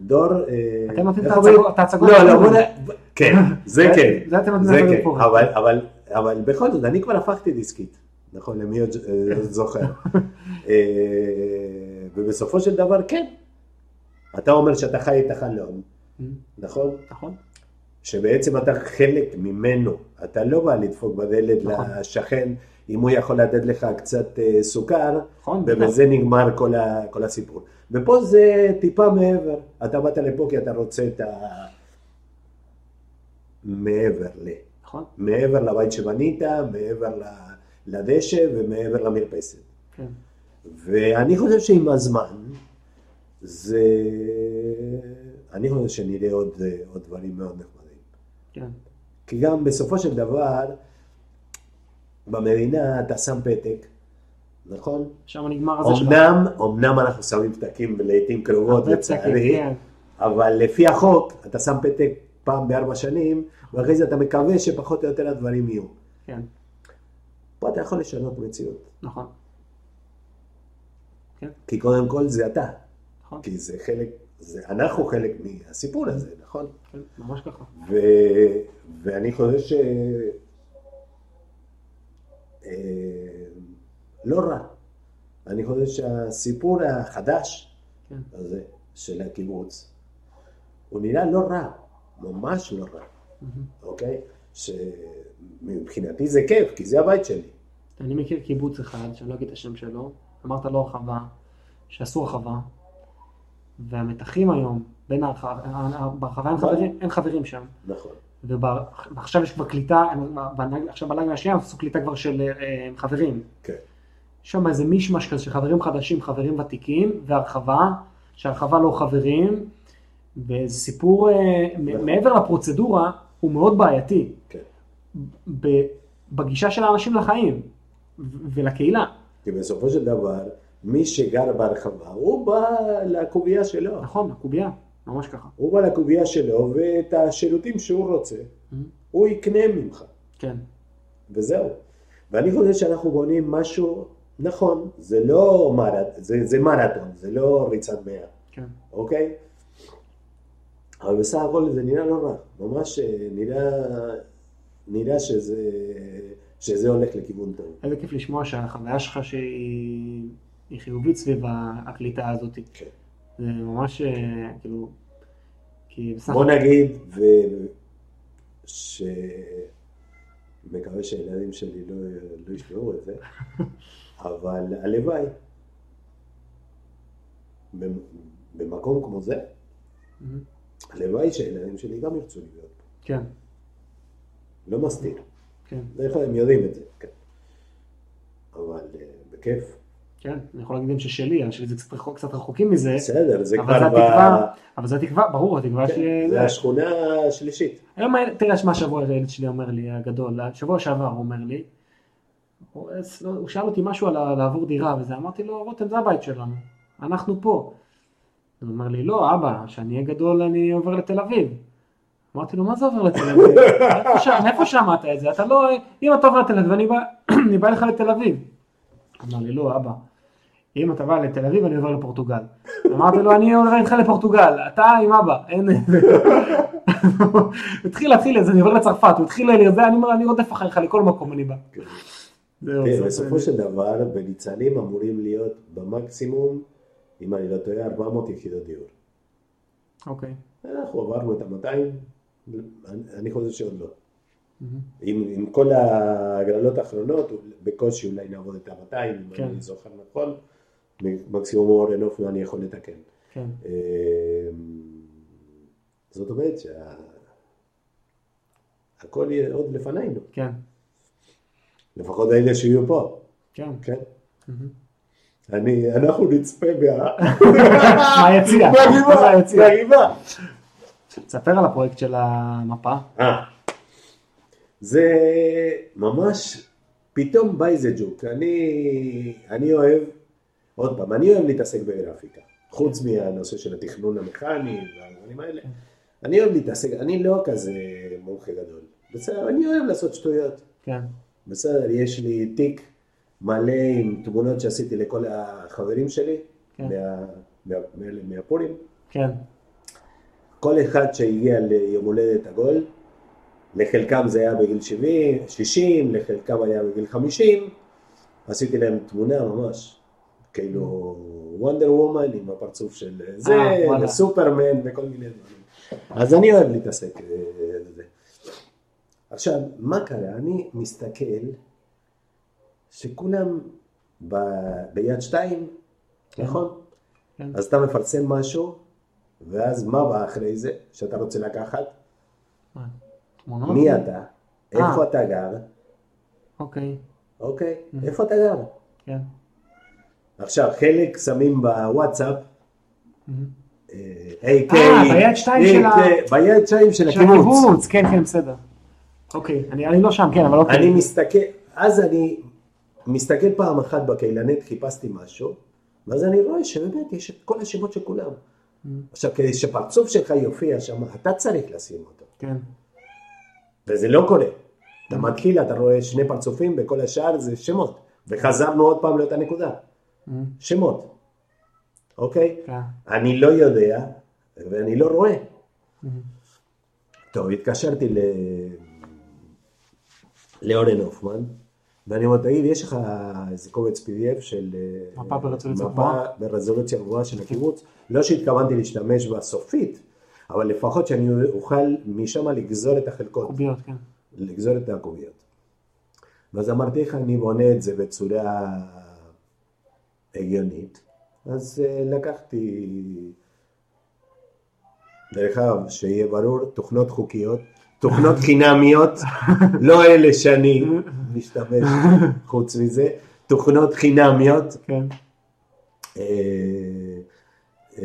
Speaker 1: דור... אה,
Speaker 2: אתם נותנים את
Speaker 1: איך אומרים?
Speaker 2: ההצגות- את ההצגות
Speaker 1: לא, לא,
Speaker 2: שלנו.
Speaker 1: בוא נ... כן,
Speaker 2: (laughs)
Speaker 1: זה
Speaker 2: זה-
Speaker 1: כן.
Speaker 2: זה לא אתם נותנים
Speaker 1: זה
Speaker 2: לעשות
Speaker 1: כן.
Speaker 2: פה.
Speaker 1: אבל- אבל- אבל בכל זאת, אני כבר הפכתי דיסקית. נכון, למי עוד אה,
Speaker 2: (laughs)
Speaker 1: זוכר. אה, ובסופו של דבר, כן. אתה אומר שאתה חי את החלום, נכון?
Speaker 2: Mm, נכון.
Speaker 1: שבעצם אתה חלק ממנו, אתה לא בא לדפוק בדלת
Speaker 2: נכון.
Speaker 1: לשכן, אם הוא יכול לתת לך קצת אה, סוכר,
Speaker 2: נכון. בטח.
Speaker 1: ובזה נגמר כל, ה, כל הסיפור. ופה זה טיפה מעבר. אתה באת לפה כי אתה רוצה את ה... מעבר ל...
Speaker 2: נכון.
Speaker 1: מעבר לבית שבנית, מעבר ל- לדשא ומעבר למרפסת.
Speaker 2: כן.
Speaker 1: ואני חושב שעם הזמן, זה... אני חושב שנראה עוד, עוד דברים מאוד נחמדים.
Speaker 2: כן.
Speaker 1: כי גם בסופו של דבר, במדינה אתה שם פתק, נכון?
Speaker 2: שם נגמר הזה שלך.
Speaker 1: אמנם, אמנם אנחנו שמים פתקים לעיתים קרובות,
Speaker 2: הרבה פסקים,
Speaker 1: לצערי,
Speaker 2: כן.
Speaker 1: אבל לפי החוק, אתה שם פתק פעם בארבע שנים, ואחרי זה אתה מקווה שפחות או יותר הדברים יהיו.
Speaker 2: כן.
Speaker 1: פה אתה יכול לשנות מציאות,
Speaker 2: נכון.
Speaker 1: כי קודם כל זה אתה,
Speaker 2: נכון.
Speaker 1: כי זה חלק זה, אנחנו חלק מהסיפור הזה, נכון?
Speaker 2: כן, ממש ככה.
Speaker 1: ו, ואני חושב ש... אה, לא רע. אני חושב שהסיפור החדש
Speaker 2: כן.
Speaker 1: הזה של הקיבוץ, הוא נראה לא רע, ממש לא רע,
Speaker 2: מהמם.
Speaker 1: אוקיי? שמבחינתי זה כיף, כי זה הבית שלי.
Speaker 2: אני מכיר קיבוץ אחד, שאני לא אגיד את השם שלו, אמרת לא הרחבה, שאסור הרחבה, והמתחים היום בין הרחבה, אה, ברחבה אין חברים, אין חברים שם,
Speaker 1: נכון.
Speaker 2: ובח- ועכשיו יש כבר קליטה, בנג- עכשיו בלילה השנייה עשו קליטה כבר של אה, אה, חברים.
Speaker 1: כן.
Speaker 2: יש שם איזה מישמש כזה של חברים חדשים, חברים ותיקים, והרחבה, שהרחבה לא חברים, וזה סיפור, אה, מ-
Speaker 1: נכון.
Speaker 2: מעבר לפרוצדורה, הוא מאוד בעייתי.
Speaker 1: כן.
Speaker 2: ב- בגישה של האנשים לחיים, ו- ולקהילה.
Speaker 1: כי בסופו של דבר, מי שגר בהרחבה, הוא בא לקובייה שלו.
Speaker 2: נכון, הקובייה, ממש ככה.
Speaker 1: הוא בא לקובייה שלו, ואת השירותים שהוא רוצה, הוא יקנה ממך,
Speaker 2: כן,
Speaker 1: וזהו. ואני חושב שאנחנו בונים משהו, נכון, זה לא מרתון, זה, זה מרתון, זה לא ריצת מאה,
Speaker 2: כן.
Speaker 1: אוקיי? אבל בסך הכל זה נראה לא רע, ממש אה, נראה, נראה שזה, שזה הולך לכיוון טוב.
Speaker 2: איזה כיף לשמוע שהחוויה שלך שהיא היא חיובית סביב ה- הקליטה הזאת.
Speaker 1: כן.
Speaker 2: זה ממש, אה, כאילו, כי בסך
Speaker 1: בוא
Speaker 2: הכל,
Speaker 1: נגיד, ו... ש... מקווה שהילדים שלי לא, לא ישמעו את
Speaker 2: (laughs)
Speaker 1: זה, אבל הלוואי. במ- במקום כמו זה, הלוואי שהילדים שלי גם ירצו להיות פה.
Speaker 2: כן,
Speaker 1: לא מסתיר.
Speaker 2: כן,
Speaker 1: בדרך כלל הם יודעים את זה, כן. אבל אה, בכיף.
Speaker 2: כן, אני יכול להגיד גם ששלי, שלי זה קצת רחוק- קצת רחוקים מזה,
Speaker 1: בסדר, זה
Speaker 2: אבל
Speaker 1: כבר...
Speaker 2: זה
Speaker 1: ב-
Speaker 2: התקווה. אבל זו התקווה, ברור, התקווה ש...
Speaker 1: כן, זה השכונה השלישית.
Speaker 2: היום, הילד- תראה מה השבוע הילד שלי אומר לי, הגדול, השבוע שעבר הוא אומר לי, הוא הוא שאל אותי משהו על ה- לעבור דירה וזה, אמרתי לו, רותם זה הבית שלנו, אנחנו פה. הוא אומר לי, לא, אבא, כשאני אהיה גדול אני עובר לתל אביב. אמרתי לו, מה זה עובר לתל אביב? "איפה ש- מאיפה שמעת את זה? אתה לא, אם אתה עובר לתל אביב, אני בא, (clears throat) אני בא לך לתל אביב. אמר לי, לא, אבא, אם אתה בא לתל אביב, אני עובר לפורטוגל. אמרתי לו, אני עובר איתך לפורטוגל, אתה עם אבא, אין... (laughs) הוא התחיל להתחיל, אז אני עובר לצרפת, הוא התחיל לזה, אני אומר, אני רודף אחריך לכל מקום, אני בא.
Speaker 1: כן.
Speaker 2: זהו,
Speaker 1: תראה,
Speaker 2: זה-
Speaker 1: בסופו של דבר, בניצנים אמורים להיות במקסימום, אם אני לא טועה, 400 יחידות דיור.
Speaker 2: אוקיי.
Speaker 1: אנחנו עברנו את ה-200, אני- אני חושב שעוד לא.
Speaker 2: מהמם.
Speaker 1: עם, עם כל ההגרלות האחרונות, בקושי אולי נעבוד את ה-200, אם
Speaker 2: כן.
Speaker 1: אני זוכר נכון, מקסימום אורן אופמן אני יכול לתקן.
Speaker 2: כן,
Speaker 1: אה, זאת אומרת שהכל יהיה עוד לפנינו,
Speaker 2: כן,
Speaker 1: לפחות אלה שיהיו פה,
Speaker 2: כן.
Speaker 1: כן?
Speaker 2: מהמם.
Speaker 1: אני, אנחנו נצפה מה... (laughs)
Speaker 2: מהיציע,
Speaker 1: מהגבעה,
Speaker 2: מהיציע.
Speaker 1: מהגבעה.
Speaker 2: תספר על הפרויקט של המפה.
Speaker 1: אה. זה ממש, פתאום בא איזה ג'וק. אני, אני אוהב, עוד פעם, אני אוהב להתעסק בגרפיקה. חוץ מהנושא של התכנון המכני והדברים האלה. אני אוהב להתעסק, אני לא כזה מומחה גדול. בסדר, אני אוהב לעשות שטויות.
Speaker 2: כן,
Speaker 1: בסדר, יש לי תיק מלא עם תמונות שעשיתי לכל החברים שלי,
Speaker 2: כן.
Speaker 1: מה- מה- מאלה מהפורים.
Speaker 2: כן,
Speaker 1: כל אחד שהגיע ליום הולדת עגול, לחלקם זה היה בגיל 70, 60, לחלקם היה בגיל 50, עשיתי להם תמונה ממש, כאילו וונדר וומן עם הפרצוף של זה,
Speaker 2: אה, וואלה.
Speaker 1: סופרמן וכל מיני דברים. אז אני אוהב להתעסק אה, בזה. עכשיו, מה קרה? אני מסתכל שכולם ב... ביד שתיים,
Speaker 2: כן.
Speaker 1: נכון?
Speaker 2: כן.
Speaker 1: אז אתה מפרסם משהו, ואז מה בא אחרי זה שאתה רוצה לקחת?
Speaker 2: מה, תמונות?
Speaker 1: מי אתה?
Speaker 2: אה.
Speaker 1: איפה אתה גר?
Speaker 2: אוקיי,
Speaker 1: אוקיי,
Speaker 2: Mhm.
Speaker 1: איפה אתה גר?
Speaker 2: כן.
Speaker 1: עכשיו, חלק שמים בוואטסאפ,
Speaker 2: מהמם.
Speaker 1: אה, AK,
Speaker 2: אה, ביד שתיים של ה-
Speaker 1: AK, ביד שתיים של
Speaker 2: של
Speaker 1: הקיבוץ.
Speaker 2: הקיבוץ, כן, כן, בסדר. אוקיי, אני אני לא שם, כן, אבל אוקיי.
Speaker 1: אני מסתכל, אז אני מסתכל פעם אחת בקהילנית, חיפשתי משהו, ואז אני רואה שבאמת יש את כל השמות של כולם.
Speaker 2: מהמם.
Speaker 1: עכשיו, כדי שפרצוף שלך יופיע שם, אתה צריך לשים אותו.
Speaker 2: כן,
Speaker 1: וזה לא קורה. אתה מתחיל, אתה רואה שני פרצופים, וכל השאר זה שמות. וחזרנו עוד פעם לאותה נקודה.
Speaker 2: מהמם.
Speaker 1: שמות, אוקיי?
Speaker 2: כן.
Speaker 1: אני לא יודע ואני לא רואה. טוב, התקשרתי ל... לאורן הופמן, ואני אומר, תגיד, יש לך איזה קובץ PDF של... אה,
Speaker 2: מפה ברזולוציה
Speaker 1: מפה
Speaker 2: גבוהה. כן.
Speaker 1: ברזולוציה גבוהה של הקיבוץ? לא שהתכוונתי להשתמש בה סופית, אבל לפחות שאני אוכל משם לגזור את החלקות.
Speaker 2: קוביות, כן.
Speaker 1: לגזור את הקוביות. ואז אמרתי לך, אני בונה את זה בצורה הגיונית. אז אה, לקחתי, דרך אגב, שיהיה ברור, תוכנות חוקיות, תוכנות חינמיות, לא אלה שאני משתמש חוץ מזה, תוכנות חינמיות.
Speaker 2: כן.
Speaker 1: אה, אה,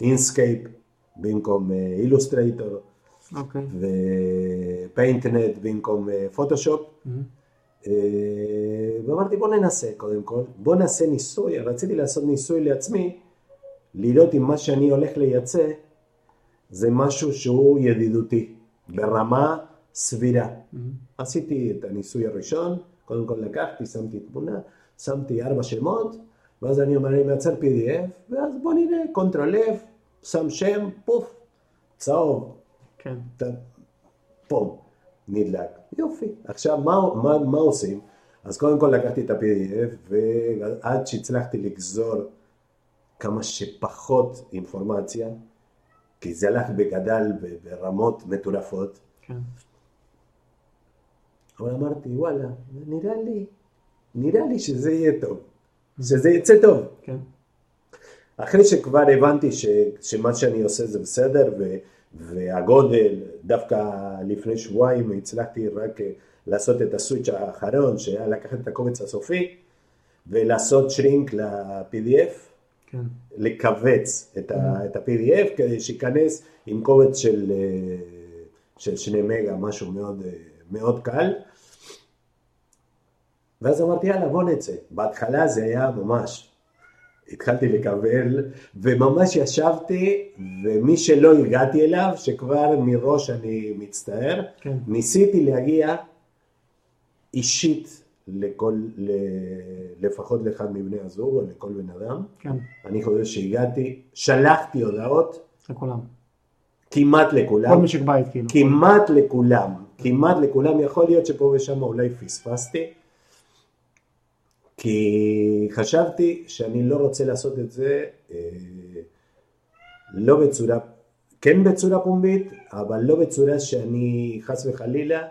Speaker 1: אינסקייפ במקום אה, אילוסטרייטור.
Speaker 2: אוקיי.
Speaker 1: ופיינטנט במקום אה, פוטושופ. אה, ואמרתי בוא ננסה קודם כל, בוא נעשה ניסוי, רציתי לעשות ניסוי לעצמי, לראות אם מה שאני הולך לייצא זה משהו שהוא ידידותי, ברמה סבירה. עשיתי את הניסוי הראשון, קודם כל לקחתי, שמתי תמונה, שמתי ארבע שמות, ואז אני אומר, אני מייצר PDF, ואז בוא נראה, קונטרול F, שם שם, פוף, צהוב,
Speaker 2: כן.
Speaker 1: אתה פה, נדלק, יופי. עכשיו, מה, מה, מה עושים? אז קודם כל לקחתי את ה-PDF, ועד שהצלחתי לגזור כמה שפחות אינפורמציה, כי זה הלך וגדל ב- ברמות מטורפות,
Speaker 2: כן.
Speaker 1: אבל אמרתי, וואלה, נראה לי, נראה לי שזה יהיה טוב, שזה יצא טוב.
Speaker 2: כן.
Speaker 1: אחרי שכבר הבנתי ש, שמה שאני עושה זה בסדר, ו, והגודל, דווקא לפני שבועיים הצלחתי רק אה, לעשות את הסוויץ' האחרון, שהיה לקחת את הקובץ הסופי, ולעשות שרינק ל-PDF,
Speaker 2: כן.
Speaker 1: לכווץ את, ה, את ה-PDF כדי שייכנס עם קובץ של, אה, של שני מגה, משהו מאוד, אה, מאוד קל. ואז אמרתי, יאללה, בוא נצא. בהתחלה זה היה ממש, התחלתי לקבל, וממש ישבתי, ומי שלא הגעתי אליו, שכבר מראש אני מצטער,
Speaker 2: כן.
Speaker 1: ניסיתי להגיע אישית לכל, ל, לפחות לאחד מבני הזוג או לכל בן אדם.
Speaker 2: כן.
Speaker 1: אני חושב שהגעתי, שלחתי הודעות
Speaker 2: לכולם.
Speaker 1: כמעט לכולם,
Speaker 2: כל משק בית כאילו.
Speaker 1: כמעט לכולם, כמעט לכולם, יכול להיות שפה ושם אולי פספסתי, כי חשבתי שאני לא רוצה לעשות את זה אה, לא בצורה, כן בצורה פומבית, אבל לא בצורה שאני חס וחלילה,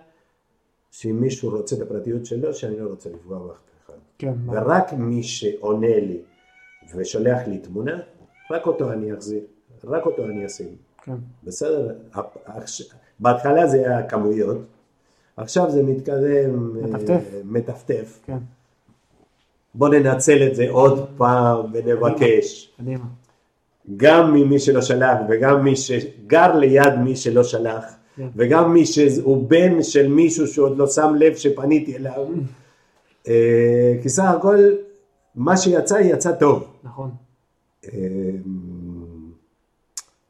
Speaker 1: שאם מישהו רוצה את הפרטיות שלו, שאני לא רוצה לפגוע באף אחד.
Speaker 2: כן.
Speaker 1: ורק מי שעונה לי ושולח לי תמונה, רק אותו אני אחזיר, רק אותו אני אשים.
Speaker 2: כן.
Speaker 1: בסדר? הפ- עכש- בהתחלה זה היה כמויות, עכשיו זה מתקדם, אה,
Speaker 2: מטפטף.
Speaker 1: מטפטף.
Speaker 2: כן.
Speaker 1: בוא ננצל את זה עוד פעם ונבקש.
Speaker 2: קדימה.
Speaker 1: גם ממי שלא שלח וגם מי שגר ליד מי שלא שלח
Speaker 2: כן.
Speaker 1: וגם מי שהוא בן של מישהו שעוד לא שם לב שפניתי אליו. אה, כי סך הכל מה שיצא יצא טוב.
Speaker 2: נכון.
Speaker 1: אה, אמ,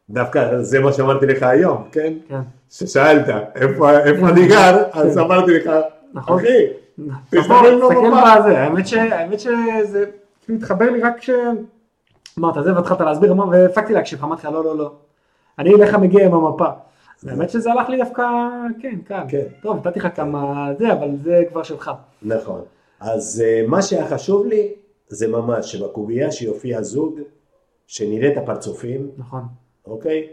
Speaker 1: דווקא זה מה שאמרתי לך היום, כן?
Speaker 2: כן.
Speaker 1: ששאלת איפה איפה אני גר, אז אמרתי לך, "אוקיי."
Speaker 2: נכון.
Speaker 1: אחי,
Speaker 2: תסתכל
Speaker 1: תסתכל במפה.
Speaker 2: בזה, האמת ש- האמת שזה כאילו התחבר לי רק כש... אמרת זה והתחלת להסביר, אמר- והפסקתי להקשיב לך, אמרתי לך לא לא לא, אני אליך מגיע עם המפה. האמת שזה הלך לי דווקא, כן, קל.
Speaker 1: כן.
Speaker 2: טוב, נתתי לך כמה זה, אבל זה כבר שלך.
Speaker 1: נכון. אז אה, מה שהיה חשוב לי, זה ממש שבקובייה שיופיע זוג, שנראה את הפרצופים,
Speaker 2: נכון.
Speaker 1: אוקיי?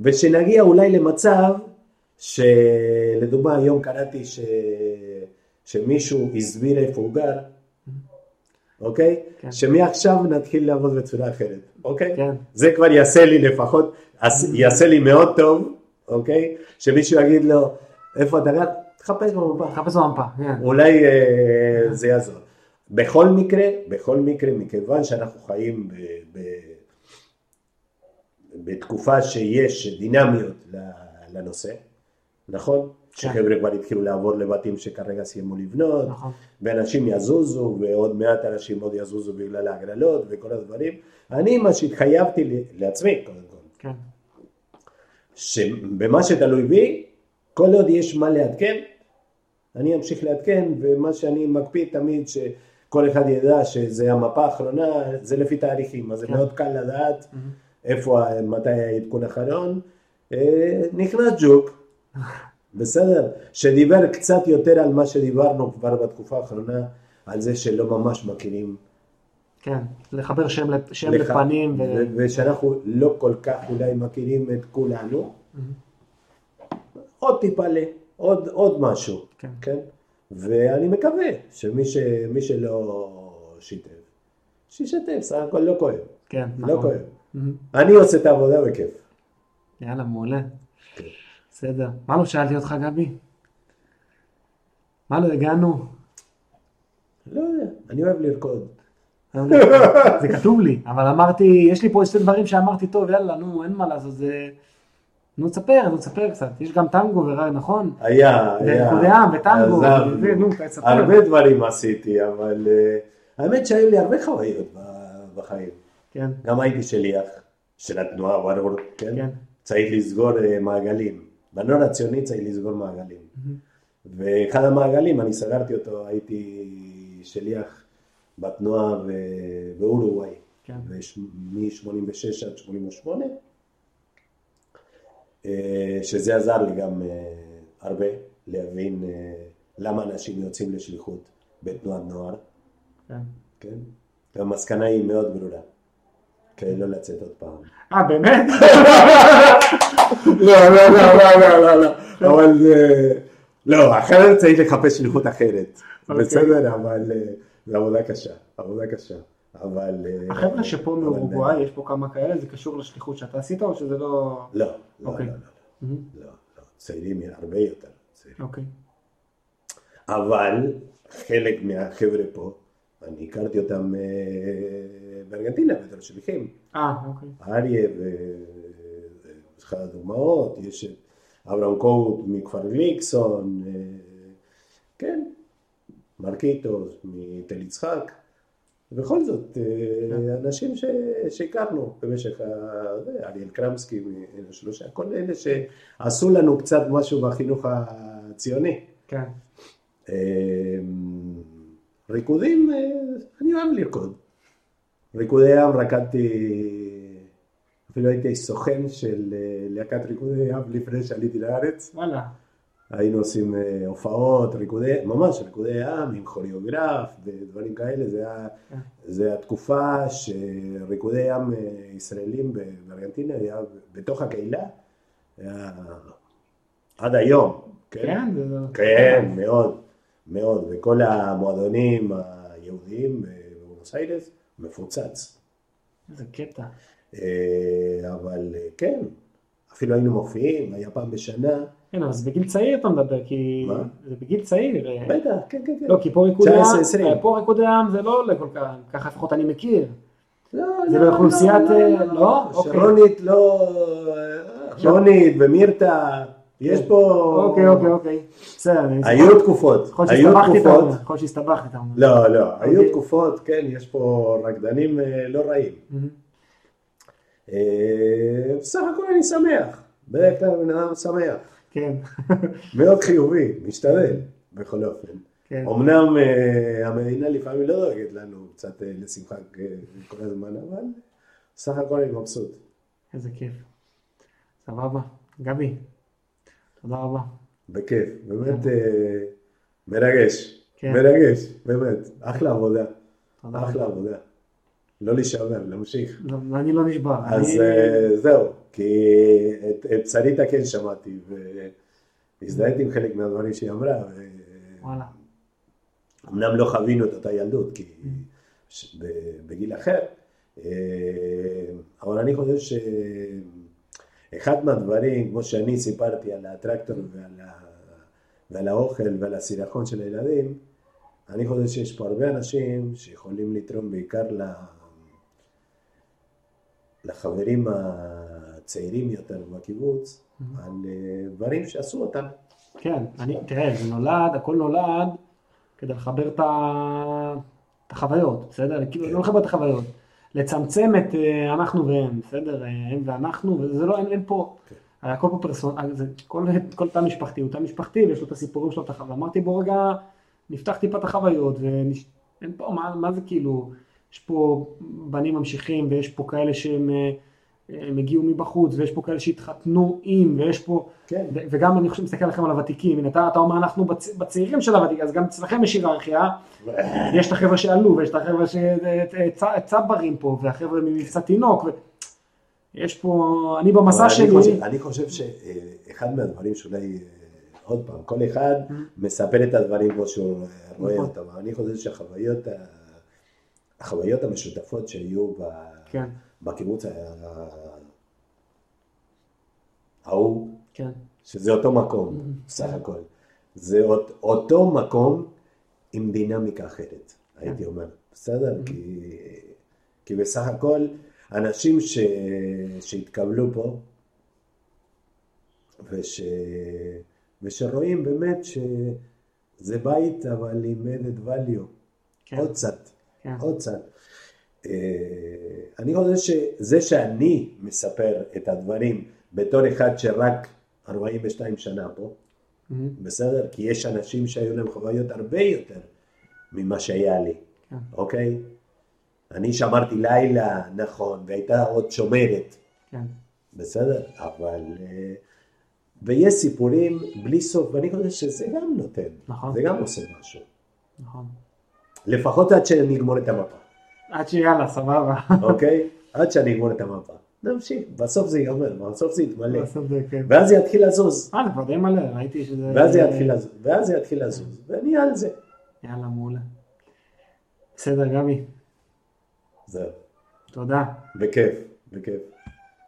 Speaker 1: ושנגיע אולי למצב שלדוגמה היום קראתי ש... שמישהו הסביר איפה הוא גר, אוקיי?
Speaker 2: כן.
Speaker 1: שמעכשיו נתחיל לעבוד בצורה אחרת, אוקיי?
Speaker 2: כן.
Speaker 1: זה כבר יעשה לי לפחות, אז יעשה לי מאוד טוב, אוקיי? שמישהו יגיד לו, איפה אתה גר? תחפש במפה.
Speaker 2: חפש במפה, כן.
Speaker 1: אולי אה, זה יעזור. בכל מקרה, בכל מקרה, מכיוון שאנחנו חיים ב, ב, בתקופה שיש דינמיות ל- לנושא, נכון? שחבר'ה כבר התחילו לעבור לבתים שכרגע סיימו לבנות,
Speaker 2: נכון.
Speaker 1: ואנשים יזוזו, ועוד מעט אנשים עוד יזוזו בגלל ההגרלות וכל הדברים. אני, מה שהתחייבתי לי- לעצמי, קודם כל,
Speaker 2: כן.
Speaker 1: שבמה שתלוי בי, כל עוד יש מה לעדכן, אני אמשיך לעדכן, ומה שאני מקפיד תמיד, כל אחד ידע שזה המפה האחרונה, זה לפי תאריכים, אז זה
Speaker 2: כן.
Speaker 1: מאוד קל לדעת
Speaker 2: מהמם.
Speaker 1: איפה, ה- מתי העדכון האחרון. אה, נכנס
Speaker 2: (laughs)
Speaker 1: ג'וק, בסדר, שדיבר קצת יותר על מה שדיברנו כבר בתקופה האחרונה, על זה שלא ממש מכירים.
Speaker 2: כן, לחבר שם לפ- שם
Speaker 1: לך-
Speaker 2: לפנים. ו-
Speaker 1: ו- ושאנחנו לא כל כך אולי מכירים את כולנו.
Speaker 2: מהמם. Mm-hmm.
Speaker 1: עוד טיפה ל... עוד, עוד משהו,
Speaker 2: כן.
Speaker 1: כן? ואני מקווה שמי ש, מי שלא שיתף, שישתף, סך הכל לא כואב,
Speaker 2: כן,
Speaker 1: לא
Speaker 2: נכון.
Speaker 1: כואב.
Speaker 2: מהמם.
Speaker 1: אני עושה את העבודה בכיף.
Speaker 2: יאללה, מעולה.
Speaker 1: כן.
Speaker 2: בסדר. מה לא שאלתי אותך, גבי? מה לא הגענו?
Speaker 1: לא יודע, אני אוהב לרקוד.
Speaker 2: זה כתוב לי, לא אבל אמרתי, יש לי פה שתי דברים שאמרתי, טוב, יאללה, נו, אין מה לעשות, זה... נו, תספר, נו, תספר קצת. יש גם טנגו ורעי, נכון?
Speaker 1: היה, היה.
Speaker 2: וריקודי עם וטנגו.
Speaker 1: עזבנו.
Speaker 2: וזה, נו, תספר.
Speaker 1: הרבה דברים עשיתי, אבל אה, האמת שהיו לי הרבה חוויות ב- בחיים.
Speaker 2: כן,
Speaker 1: גם הייתי שליח של התנועה, ברור, כן?
Speaker 2: כן.
Speaker 1: צריך לסגור אה, מעגלים. בנוער הציוני צריך לסגור מעגלים. ואחד המעגלים, אני סגרתי אותו, הייתי שליח בתנועה ו- לא באורוגוואי,
Speaker 2: כן.
Speaker 1: מ-86 עד 88, אה, שזה עזר לי גם אה, הרבה להבין אה, למה אנשים יוצאים לשליחות בתנועת נוער,
Speaker 2: כן.
Speaker 1: כן? המסקנה היא מאוד ברורה, כן, לא לצאת עוד פעם.
Speaker 2: אה, (laughs) באמת?
Speaker 1: לא, לא, לא, לא, לא, לא, לא, אבל אה, לא, אחרת צריך לחפש שליחות אחרת,
Speaker 2: אוקיי.
Speaker 1: בסדר, אבל אה, זו עבודה קשה, עבודה קשה, אבל... אה,
Speaker 2: החבר'ה שפה
Speaker 1: אבל-
Speaker 2: מאורוגוואי, יש פה כמה כאלה, זה קשור לשליחות שאתה עשית, או שזה לא...
Speaker 1: לא, לא, לא,
Speaker 2: אוקיי.
Speaker 1: לא, לא, לא, צעירים הרבה יותר צעירים,
Speaker 2: אוקיי.
Speaker 1: אבל חלק מהחבר'ה פה, אני הכרתי אותם אה, בארגנטינה, בתור שליחים,
Speaker 2: אה, אוקיי.
Speaker 1: אריה ואחת הדוגמאות, יש את אברהם קוט מכפר גליקסון, אה, כן, מרקיטוס מתל יצחק, ובכל זאת, אה, אנשים ש... שהכרנו במשך, ה- זה, אריאל קרמסקי, מ- שלושה, כל אלה שעשו לנו קצת משהו בחינוך הציוני.
Speaker 2: כן.
Speaker 1: אה, אמ, ריקודים, אה, אני אוהב לרקוד. ריקודי עם רקדתי, אפילו הייתי סוכן של אה, להקת ריקודי עם לפני שעליתי לארץ.
Speaker 2: וואלה.
Speaker 1: היינו עושים אה, הופעות, ריקודי, ממש ריקודי עם עם כוריאוגרף ודברים כאלה. זה, היה,
Speaker 2: כן.
Speaker 1: זה התקופה שריקודי עם אה, ישראלים ב- בארגנטינה היה בתוך הקהילה. היה עד היום,
Speaker 2: כן? זה-
Speaker 1: כן, מאוד, מאוד, וכל המועדונים היהודיים בבונוס איירס מפוצץ.
Speaker 2: איזה קטע.
Speaker 1: אה, אבל אה, כן, אפילו היינו מופיעים, היה פעם בשנה,
Speaker 2: כן, אבל זה בגיל צעיר אתה מדבר, כי...
Speaker 1: מה?
Speaker 2: זה בגיל צעיר. אה.
Speaker 1: בטח, כן, כן, כן.
Speaker 2: לא, כי פה ריקודי
Speaker 1: 19, 20.
Speaker 2: עם, אה, פה ריקודי עם זה לא עולה כל כך, ככה לפחות אני מכיר. זה
Speaker 1: לא,
Speaker 2: באוכלוסיית,
Speaker 1: לא, לא,
Speaker 2: אה,
Speaker 1: לא,
Speaker 2: לא? אוקיי.
Speaker 1: שרונית לא... שרונית ומירתה, יש פה...
Speaker 2: כן. אוקיי, אוקיי, אוקיי. בסדר, אני...
Speaker 1: היו תקופות,
Speaker 2: יכול
Speaker 1: היו
Speaker 2: שהסתבכתי, אתה
Speaker 1: תקופות.
Speaker 2: אומר. יכול שהסתבכתי, אתה אומר.
Speaker 1: לא, לא, היו
Speaker 2: אוקיי.
Speaker 1: תקופות, כן, יש פה רקדנים אה, לא רעים.
Speaker 2: מהמם.
Speaker 1: אה, בסך הכל אני שמח, בדרך כלל בן אדם שמח,
Speaker 2: כן, (laughs)
Speaker 1: מאוד חיובי, משתדל בכל אופן.
Speaker 2: כן.
Speaker 1: אמנם אה, המדינה לפעמים לא דואגת לנו קצת אה, לשמחה אה, כל הזמן, אבל סך הכל אני מבסוט.
Speaker 2: איזה כיף. סבבה. גבי, תודה רבה.
Speaker 1: בכיף, באמת אה, מרגש,
Speaker 2: כן.
Speaker 1: מרגש, באמת, אחלה עבודה,
Speaker 2: תודה
Speaker 1: אחלה
Speaker 2: רבה.
Speaker 1: עבודה. לא להישבר, להמשיך.
Speaker 2: לא, אני לא נשבר.
Speaker 1: אז
Speaker 2: אני-
Speaker 1: אה, זהו, כי את- את שריטה כן שמעתי, והזדהיתי עם חלק מהדברים שהיא אמרה. ו-
Speaker 2: וואלה.
Speaker 1: אמנם לא חווינו את אותה ילדות, כי ש- ב- בגיל אחר, אה, אבל אני חושב שאחד מהדברים, כמו שאני סיפרתי על הטרקטור ועל, ה... ועל האוכל ועל הסירחון של הילדים, אני חושב שיש פה הרבה אנשים שיכולים לתרום בעיקר ל... לחברים הצעירים יותר בקיבוץ, על אה, דברים שעשו אותם.
Speaker 2: כן, אני, תראה, זה נולד, הכל נולד כדי לחבר את ה- את החוויות, בסדר? כאילו,
Speaker 1: כן.
Speaker 2: לא לחבר את החוויות. לצמצם את אה, אנחנו והם, בסדר? אה, הם ואנחנו, וזה לא, אין, אין פה,
Speaker 1: כן.
Speaker 2: הרי הכל פה פרסונל, זה- כל, כל תא משפחתי הוא תא משפחתי, ויש לו את הסיפורים שלו, את החוויה. אמרתי, בוא רגע, נפתח טיפה את החוויות, אין פה, מה, מה זה כאילו, יש פה בנים ממשיכים ויש פה כאלה שהם אה, הם הגיעו מבחוץ ויש פה כאלה שהתחתנו עם ויש פה,
Speaker 1: כן.
Speaker 2: ו- וגם אני חושב מסתכל עליכם על הוותיקים, הנה אתה, אתה אומר אנחנו בצ, בצעירים של הוותיקים, אז גם אצלכם יש היררכיה, יש את החבר'ה שעלו ויש את החבר'ה שצברים פה והחבר'ה ממבצע תינוק, ו... יש פה, אני במסע
Speaker 1: אבל
Speaker 2: שלי,
Speaker 1: אני חושב, אני חושב שאחד מהדברים שאולי, אה, עוד פעם, כל אחד מספר את הדברים כמו שהוא אה, רואה
Speaker 2: Mm. נכון.
Speaker 1: אותם, אבל אני חושב שהחוויות ה- החוויות המשותפות שהיו ב-
Speaker 2: כן,
Speaker 1: בקיבוץ ה- ה- ההוא,
Speaker 2: כן,
Speaker 1: שזה אותו מקום, סך הכל. זה אות- אותו מקום עם דינמיקה אחרת, הייתי אומר. בסדר? כי, כי בסך הכל, אנשים ש, שהתקבלו פה, וש, ושרואים באמת שזה בית, אבל עם added value.
Speaker 2: כן.
Speaker 1: עוד קצת,
Speaker 2: כן.
Speaker 1: עוד קצת. אה, אני חושב שזה שאני מספר את הדברים בתור אחד שרק 42 שנה פה,
Speaker 2: מהמם.
Speaker 1: בסדר? כי יש אנשים שהיו להם חוויות הרבה יותר ממה שהיה לי,
Speaker 2: כן.
Speaker 1: אוקיי? אני שמרתי לילה, נכון, והייתה עוד שומרת,
Speaker 2: כן,
Speaker 1: בסדר? אבל... אה, ויש סיפורים בלי סוף, ואני חושב שזה גם נותן,
Speaker 2: נכון.
Speaker 1: זה גם עושה משהו.
Speaker 2: נכון.
Speaker 1: לפחות עד שנגמור את המפה.
Speaker 2: עד שיאללה, סבבה.
Speaker 1: אוקיי? עד שאני אגמור את המפה. נמשיך, בסוף זה ייגמר, בסוף זה
Speaker 2: (laughs)
Speaker 1: יתמלא.
Speaker 2: לעשות זה, כן.
Speaker 1: ואז זה יתחיל לזוז,
Speaker 2: אה, זה כבר די מלא, ראיתי שזה...
Speaker 1: ואז זה יתחיל לזוז, ואז זה יתחיל לזוז, ואני על זה.
Speaker 2: יאללה, מעולה. בסדר, גבי,
Speaker 1: זהו,
Speaker 2: תודה.
Speaker 1: בכיף, בכיף.